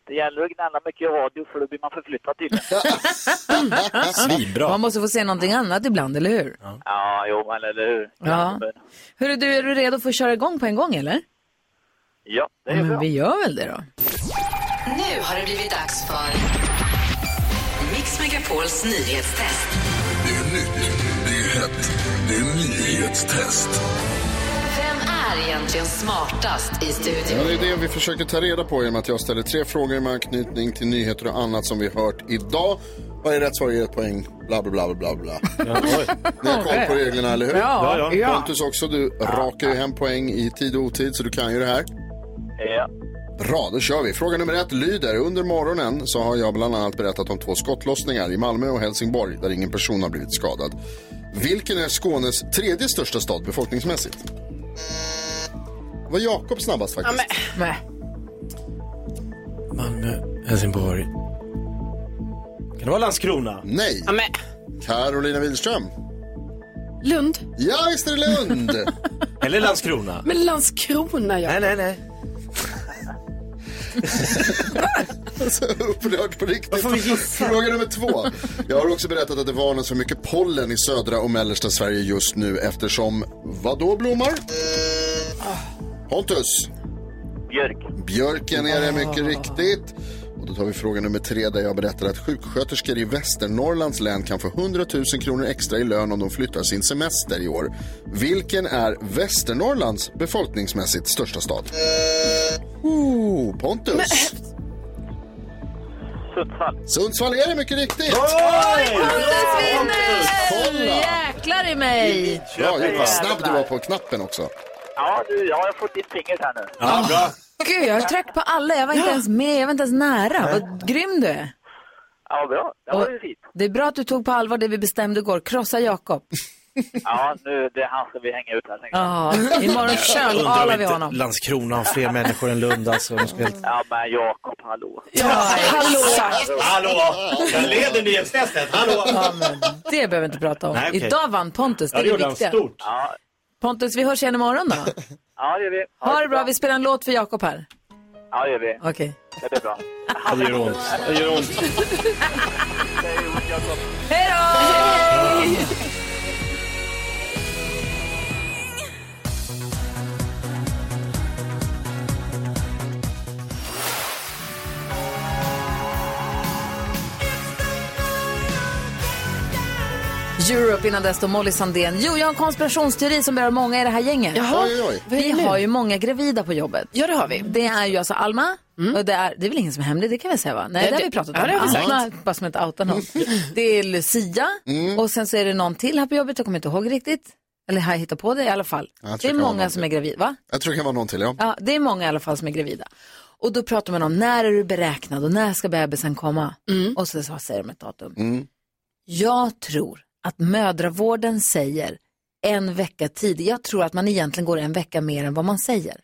[SPEAKER 12] det gäller att gnälla mycket i radio för då blir man förflyttad tydligen.
[SPEAKER 2] Svinbra.
[SPEAKER 1] Man måste få se någonting annat ibland, eller hur?
[SPEAKER 12] ja, jo, men eller hur?
[SPEAKER 1] Ja. Hur är du, är du redo för att köra igång på en gång eller?
[SPEAKER 12] Ja, det
[SPEAKER 1] Ja,
[SPEAKER 12] är bra.
[SPEAKER 1] men vi gör väl det då.
[SPEAKER 24] Nu har det blivit dags för Mix Megapols nyhetstest.
[SPEAKER 9] Det är nytt, det är hett, det är nyhetstest.
[SPEAKER 24] Vem är egentligen smartast i
[SPEAKER 4] Ja, det är
[SPEAKER 24] studion?
[SPEAKER 4] det vi försöker ta reda på genom att jag ställer tre frågor med anknytning till nyheter och annat som vi hört idag. Varje rätt svar ger ett poäng, bla bla bla bla bla. Ni har koll på reglerna, eller hur?
[SPEAKER 12] Ja, ja. Ja.
[SPEAKER 4] Pontus också, du rakar ju hem poäng i tid och otid, så du kan ju det här.
[SPEAKER 12] Ja.
[SPEAKER 4] Bra, då kör vi. Fråga nummer ett lyder. Under morgonen så har jag bland annat berättat om två skottlossningar i Malmö och Helsingborg där ingen person har blivit skadad. Vilken är Skånes tredje största stad befolkningsmässigt? Det var Jakob snabbast faktiskt.
[SPEAKER 1] Nej.
[SPEAKER 2] Malmö, Helsingborg. Kan det vara Landskrona?
[SPEAKER 4] Nej. Carolina Widerström.
[SPEAKER 3] Lund.
[SPEAKER 4] Ja, visst är det Lund.
[SPEAKER 2] Eller Landskrona.
[SPEAKER 3] Men Landskrona, ja. Nej,
[SPEAKER 2] nej, nej.
[SPEAKER 4] Så upprörd Alltså, på riktigt.
[SPEAKER 2] Varför gissa?
[SPEAKER 4] Fråga nummer två. Jag har också berättat att det varnas för mycket pollen i södra och mellersta Sverige just nu eftersom, vad då blommar? Pontus.
[SPEAKER 12] Björk.
[SPEAKER 4] Björken är det mycket riktigt. Och då tar vi fråga nummer tre där jag berättar att sjuksköterskor i Västernorrlands län kan få 100 000 kronor extra i lön om de flyttar sin semester i år. Vilken är Västernorrlands befolkningsmässigt största stad? Oh, Pontus.
[SPEAKER 12] Sundsvall.
[SPEAKER 4] Sundsvall är det mycket riktigt.
[SPEAKER 1] Pontus vinner!
[SPEAKER 4] Kolla!
[SPEAKER 1] Jäklar i mig!
[SPEAKER 4] Bra gjort, vad snabb du var på knappen också.
[SPEAKER 12] Ja, du, jag har fått ditt fingret här nu.
[SPEAKER 4] Ja, bra.
[SPEAKER 1] Gud, jag har tryckt på alla. Jag var inte ens med, jag var inte ens nära. Vad grym du är.
[SPEAKER 12] Ja, bra. Det var ju fint.
[SPEAKER 1] Det är bra att du tog på allvar det vi bestämde igår. Krossa Jakob.
[SPEAKER 12] Ja, nu, det är han som vi hänger ut här. tänker jag.
[SPEAKER 1] Ja, imorgon
[SPEAKER 2] Undrar om
[SPEAKER 1] kölalar vi
[SPEAKER 2] inte
[SPEAKER 1] honom.
[SPEAKER 2] Landskrona har fler människor än Lund alltså. om jag ska helt-
[SPEAKER 12] Ja, men Jakob, hallå.
[SPEAKER 1] hallå.
[SPEAKER 2] Hallå! Jag leder nyhetstestet. Hallå!
[SPEAKER 1] Ja, men det behöver vi inte prata om.
[SPEAKER 2] Nej, okej.
[SPEAKER 1] Idag vann Pontus, det är det viktiga.
[SPEAKER 12] Ja,
[SPEAKER 1] Pontus, vi hörs igen imorgon då.
[SPEAKER 12] ja det gör vi.
[SPEAKER 1] Ha det bra, vi spelar en låt för Jakob här.
[SPEAKER 12] Ja, det gör vi.
[SPEAKER 1] Okej.
[SPEAKER 12] Det blir bra.
[SPEAKER 2] Det gör ont. Det gör ont.
[SPEAKER 1] Hej då! Europe innan dess då, Molly Sandén. Jo, jag har en konspirationsteori som berör många i det här gänget.
[SPEAKER 3] Jaha. Oj, oj, oj. Vad är
[SPEAKER 1] Vi
[SPEAKER 3] det nu?
[SPEAKER 1] har ju många gravida på jobbet.
[SPEAKER 3] Ja, det har vi.
[SPEAKER 1] Det är ju alltså Alma, och det är, det är väl ingen som är hemlig, det kan vi säga va? Nej,
[SPEAKER 3] Nej,
[SPEAKER 1] det, har
[SPEAKER 3] det-
[SPEAKER 1] vi pratat
[SPEAKER 3] ja,
[SPEAKER 1] om.
[SPEAKER 3] det har vi sagt. Mm.
[SPEAKER 1] Alma, bara som inte outar någon. Det är Lucia
[SPEAKER 4] Mm.
[SPEAKER 1] och sen så är det någon till här på jobbet, jag kommer inte ihåg riktigt. Eller har jag hittat på det i alla fall.
[SPEAKER 4] Jag tror
[SPEAKER 1] Det är
[SPEAKER 4] det kan vara
[SPEAKER 1] många
[SPEAKER 4] någon
[SPEAKER 1] som är
[SPEAKER 4] till.
[SPEAKER 1] gravida, va?
[SPEAKER 4] Jag tror det kan vara någon till, ja.
[SPEAKER 1] Ja, det är många i alla fall som är gravida. Och då pratar man om när är du beräknad och när ska bebisen komma?
[SPEAKER 3] Mm.
[SPEAKER 1] Och så, så säger de ett datum.
[SPEAKER 4] Mm.
[SPEAKER 1] Jag tror att mödravården säger en vecka tidig. Jag tror att man egentligen går en vecka mer än vad man säger.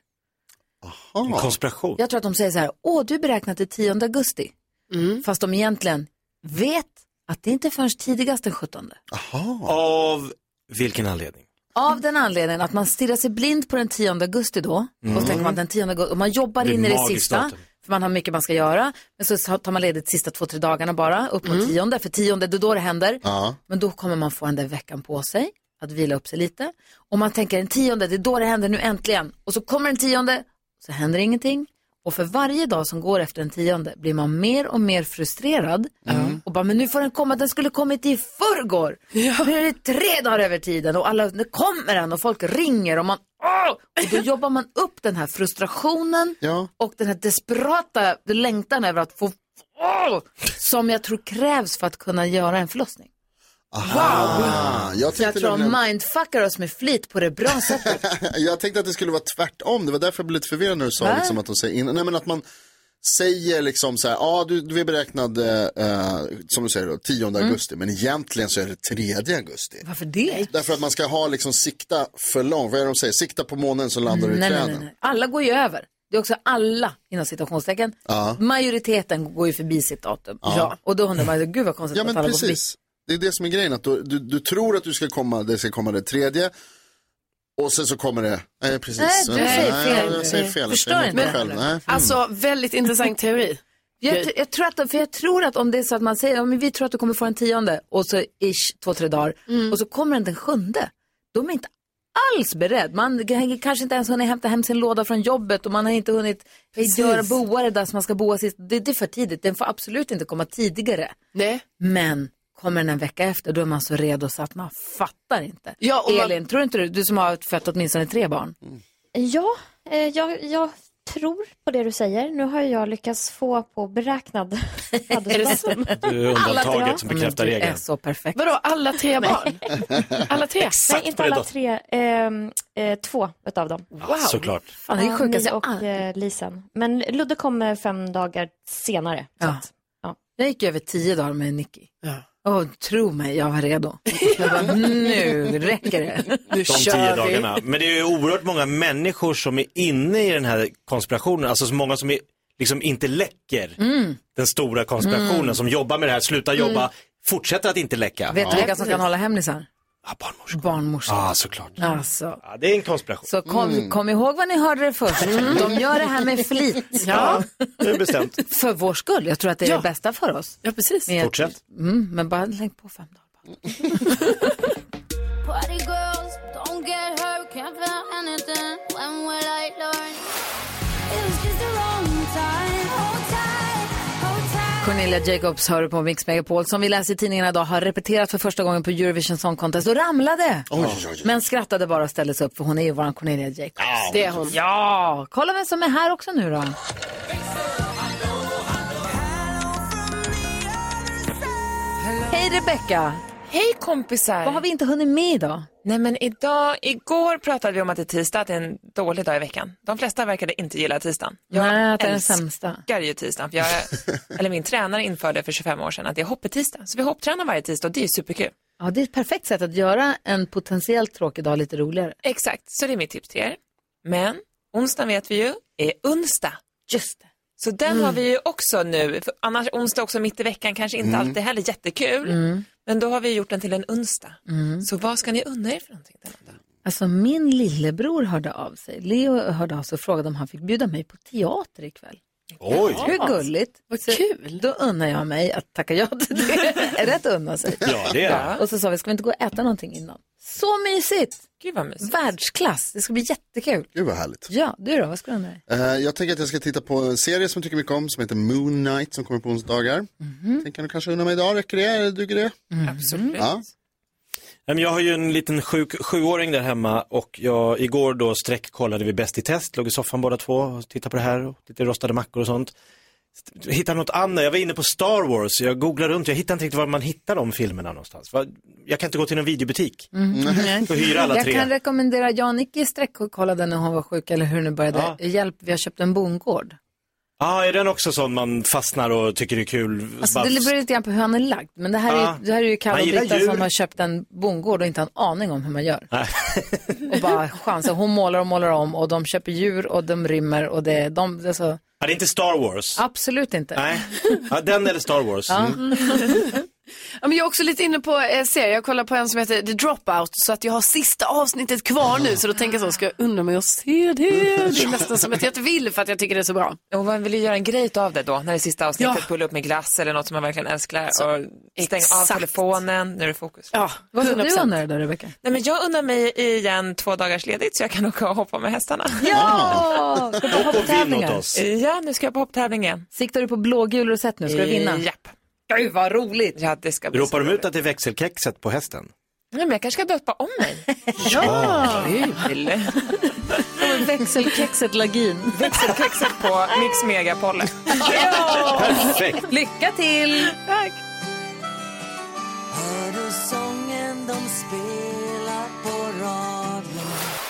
[SPEAKER 2] En konspiration.
[SPEAKER 1] Jag tror att de säger så här, åh du är beräknad till 10 augusti. Fast de egentligen vet att det inte är förrän tidigast den 17.
[SPEAKER 2] Av vilken anledning?
[SPEAKER 1] Av den anledningen att man stirrar sig blind på den 10 augusti då. Och så tänker man den 10 augusti, och man jobbar
[SPEAKER 6] Mm. Det är
[SPEAKER 1] in i det
[SPEAKER 6] magiskt
[SPEAKER 1] sista.
[SPEAKER 6] datum.
[SPEAKER 1] För man har mycket man ska göra. Men så tar man ledigt sista två, tre dagarna bara. Upp mot tionde. För tionde, det är då det händer.
[SPEAKER 4] Ja.
[SPEAKER 1] Men då kommer man få den där veckan på sig. Att vila upp sig lite. Och man tänker den tionde, det är då det händer nu äntligen. Och så kommer den tionde. Så händer ingenting. Och för varje dag som går efter den tionde blir man mer och mer frustrerad. Och bara, men nu får den komma, den skulle kommit i förrgår. Nu är det tre dagar över tiden och alla, nu kommer den och folk ringer och man, åh! Och då jobbar man upp den här frustrationen och den här desperata längtan över att få, åh! Som jag tror krävs för att kunna göra en förlossning.
[SPEAKER 4] Aha. Ah, Jag
[SPEAKER 1] Så jag
[SPEAKER 4] tänkte,
[SPEAKER 1] tror
[SPEAKER 4] nämligen-
[SPEAKER 1] de mindfuckar oss med flit på det bra sättet.
[SPEAKER 4] jag tänkte att det skulle vara tvärtom. Det var därför jag blev lite förvirrad när du sa
[SPEAKER 1] Va?
[SPEAKER 4] liksom, att de säger in... Nej, men att man säger liksom så här, ja du, du är beräknad, eh, eh, som du säger då, 10 augusti, men egentligen så är det 3 augusti.
[SPEAKER 1] Mm. Varför det?
[SPEAKER 4] Därför att man ska ha liksom sikta för långt, vad är det de säger, sikta på månen så landar du i
[SPEAKER 1] Nej, nej,
[SPEAKER 4] träden.
[SPEAKER 1] nej, nej. Alla går ju över. Det är också alla, inom citationstecken.
[SPEAKER 4] Ja.
[SPEAKER 1] Majoriteten går ju förbi sitt datum.
[SPEAKER 4] Ja.
[SPEAKER 1] Och då undrar man, gud vad konstigt
[SPEAKER 4] Ja
[SPEAKER 1] att
[SPEAKER 4] men
[SPEAKER 1] alla går förbi.
[SPEAKER 4] precis. Det är det som är grejen, att du, du, du tror att du ska komma, det ska komma det tredje. Och sen så kommer det, nej precis.
[SPEAKER 3] Nej, du säger fel.
[SPEAKER 4] jag säger fel.
[SPEAKER 3] Förstör
[SPEAKER 4] jag säger emot
[SPEAKER 3] inte.
[SPEAKER 4] mig själv. Nej. Mm.
[SPEAKER 3] Alltså, väldigt intressant teori.
[SPEAKER 1] Jag, tr- jag, tror att, för jag tror att om det är så att man säger, ja, men vi tror att du kommer få en tionde och så ish två, tre dagar
[SPEAKER 3] Mm.
[SPEAKER 1] och så kommer den den sjunde. Då är man inte alls beredd. Man g- kanske inte ens hunnit hämta hem sin låda från jobbet och man har inte hunnit göra boa det där som man ska boa sist. Det, det är för tidigt. Den får absolut inte komma tidigare.
[SPEAKER 3] Nej.
[SPEAKER 1] Men kommer den en vecka efter, då är man så redo så att man fattar inte.
[SPEAKER 3] Ja, och man-
[SPEAKER 1] Elin, tror inte du, du som har fött åtminstone tre barn?
[SPEAKER 2] Mm.
[SPEAKER 14] Ja, eh, jag, jag tror på det du säger. Nu har ju jag lyckats få på beräknad födelsedatum.
[SPEAKER 2] Du är undantaget som bekräftar
[SPEAKER 1] Men du är
[SPEAKER 2] regeln.
[SPEAKER 1] så perfekt.
[SPEAKER 14] Vadå, alla tre
[SPEAKER 3] barn? Alla tre?
[SPEAKER 14] Nej, inte alla tre. ehm, eh, två utav dem.
[SPEAKER 2] Wow. Såklart.
[SPEAKER 1] Fan, det är
[SPEAKER 14] Ja,
[SPEAKER 1] sjukaste
[SPEAKER 14] ni
[SPEAKER 1] jag
[SPEAKER 14] och eh, Lisen. Men Ludde kommer fem dagar senare.
[SPEAKER 1] Ja. Jag gick över tio dagar med Nicky.
[SPEAKER 3] Ja.
[SPEAKER 1] tro mig, jag var redo. Jag bara, nu räcker det.
[SPEAKER 2] De tio dagarna. Men det är ju oerhört många människor som är inne i den här konspirationen, alltså så många som är, liksom inte läcker
[SPEAKER 1] Mm.
[SPEAKER 2] den stora konspirationen,
[SPEAKER 1] Mm.
[SPEAKER 2] som jobbar med det här, slutar
[SPEAKER 1] Mm.
[SPEAKER 2] jobba, fortsätter att inte läcka.
[SPEAKER 1] Vet du vilka som kan hålla hemlisar?
[SPEAKER 2] Ja, barnmorskor.
[SPEAKER 1] Barnmorskor.
[SPEAKER 2] Ja, Mm. såklart.
[SPEAKER 1] Alltså.
[SPEAKER 2] Ja, det är en konspiration.
[SPEAKER 1] Så kom, kom ihåg vad ni hörde det först. De gör det här med flit.
[SPEAKER 2] Ja, det är bestämt.
[SPEAKER 1] För vår skull. Jag tror att det är det bästa för oss.
[SPEAKER 3] Ja, precis.
[SPEAKER 1] Men jag-
[SPEAKER 2] Fortsätt.
[SPEAKER 1] Mm, men bara lägg på fem dagar.
[SPEAKER 11] Party girls, don't get hurt, can't feel anything. When will I learn? It was just the wrong time. Hold tight, hold tight.
[SPEAKER 1] Cornelia Jacobs hör på Mix Megapol som vi läser i tidningarna idag har repeterat för första gången på Eurovision Song Contest och ramlade.
[SPEAKER 4] Oj, oj, oj.
[SPEAKER 1] Men skrattade bara och ställde sig upp för hon är ju våran Cornelia Jacobs.
[SPEAKER 3] Det är hon.
[SPEAKER 1] Ja, kolla vem som är här också nu då. Hej Rebecka!
[SPEAKER 16] Hej kompisar!
[SPEAKER 1] Vad har vi inte hunnit med idag?
[SPEAKER 16] Nej men idag, igår pratade vi om att det är tisdag, att det är en dålig dag i veckan. De flesta verkade inte gilla tisdagen. Jag
[SPEAKER 1] Nej, att det är den
[SPEAKER 16] älskar
[SPEAKER 1] sämsta.
[SPEAKER 16] ju tisdagen, för jag, eller min tränare införde för 25 år sedan att det är hoppetisdag. Så vi hopptränar varje tisdag och det är ju superkul.
[SPEAKER 1] Ja, det är ett perfekt sätt att göra en potentiellt tråkig dag lite roligare.
[SPEAKER 16] Exakt, så det är mitt tips till er. Men onsdagen vet vi ju är onsdag.
[SPEAKER 1] Just det.
[SPEAKER 16] Så den
[SPEAKER 3] Mm.
[SPEAKER 16] har vi ju också nu, för annars onsdag också mitt i veckan kanske inte
[SPEAKER 1] Mm.
[SPEAKER 16] alltid heller jättekul.
[SPEAKER 1] Mm.
[SPEAKER 16] Men då har vi gjort den till en onsdag.
[SPEAKER 1] Mm.
[SPEAKER 16] Så vad ska ni unna er för någonting?
[SPEAKER 1] Alltså min lillebror hörde av sig. Leo hörde av sig och frågade om han fick bjuda mig på teater ikväll.
[SPEAKER 16] Oj.
[SPEAKER 1] Hur gulligt. Vad kul. Då unnar jag mig att tacka ja till det. är det att unna sig?
[SPEAKER 16] Ja, det är det.
[SPEAKER 1] Och så sa vi, ska vi inte gå och äta någonting innan? Så mysigt!
[SPEAKER 16] Gud vad mysigt.
[SPEAKER 1] Världsklass, det ska bli jättekul.
[SPEAKER 4] Gud vad härligt.
[SPEAKER 1] Ja, du då, vad ska du unna dig?
[SPEAKER 4] Eh, jag tänker att jag ska titta på en serie som jag tycker mycket om som heter Moon Knight som kommer på onsdagar. Tänker du kanske unna mig idag, räcker det? Eller Duger det?
[SPEAKER 16] Absolut.
[SPEAKER 4] Ja.
[SPEAKER 2] Nej, men Jag har ju en liten sjuk, sjuåring där hemma och jag, igår då sträckkollade vi Bäst i test, låg i soffan båda två och tittade på det här, och lite rostade mackor och sånt. Hittade något annat, jag var inne på Star Wars, jag googlade runt, jag hittade inte riktigt var man hittar de filmerna någonstans. Va- Jag kan inte gå till någon videobutik.
[SPEAKER 1] Mm.
[SPEAKER 2] Så hyra alla
[SPEAKER 1] jag
[SPEAKER 2] tre.
[SPEAKER 1] kan rekommendera Janicke streckkollade när hon var sjuk eller hur det nu började. Hjälp, vi har köpt en bondgård.
[SPEAKER 2] Ja, är den också sån man fastnar och tycker det är kul?
[SPEAKER 1] Alltså,
[SPEAKER 2] Bara-
[SPEAKER 1] det beror lite grann på hur han är lagd. Men det här är,
[SPEAKER 2] Ja.
[SPEAKER 1] ju- det här är ju Kalle
[SPEAKER 2] Man
[SPEAKER 1] och
[SPEAKER 2] gillar
[SPEAKER 1] Britta
[SPEAKER 2] djur.
[SPEAKER 1] som har köpt en bondgård och inte har en aning om hur man gör.
[SPEAKER 2] Nej.
[SPEAKER 1] Och bara chansar. Hon målar och målar om och de köper djur och de rymmer och det, de, det är så.
[SPEAKER 2] Ja, det är inte Star Wars.
[SPEAKER 1] Absolut inte.
[SPEAKER 2] Mm. Nej, ja, den eller Star Wars.
[SPEAKER 1] Ja.
[SPEAKER 2] Mm.
[SPEAKER 3] Ja, men jag är också lite inne på eh, serier, jag kollar på en som heter The Dropout så att jag har sista avsnittet kvar nu så då tänker jag så, ska jag undra om jag ser det? Det är nästan som att jag inte vill för att jag tycker det är så bra.
[SPEAKER 16] Och man vill ju göra en grej av det då, när det är sista avsnittet, pulla upp med glass eller något som man verkligen älskar och stänga av
[SPEAKER 3] exakt.
[SPEAKER 16] telefonen, nu är det fokus.
[SPEAKER 3] Ja,
[SPEAKER 25] Vad ska du undra dig då, Rebecka?
[SPEAKER 16] Nej, men jag undrar mig igen två dagars ledigt så jag kan åka och hoppa med hästarna.
[SPEAKER 25] Ja! Ska du på Och hopptävlingar? vinn åt oss.
[SPEAKER 16] Ja, nu ska jag på hopptävling igen.
[SPEAKER 25] Siktar du på blågul rosett nu? Ska du vinna?
[SPEAKER 16] Japp. Gud vad roligt! Ja, det ska bli
[SPEAKER 2] Ropar de
[SPEAKER 16] så
[SPEAKER 2] ut att det är växelkexet på hästen?
[SPEAKER 16] Nej, men jag kanske ska döpa om mig.
[SPEAKER 2] Ja.
[SPEAKER 16] Kul!
[SPEAKER 25] Växelkexet Lagin.
[SPEAKER 16] Växelkexet på Mix Megapol.
[SPEAKER 2] Perfekt!
[SPEAKER 25] Lycka till!
[SPEAKER 16] Tack!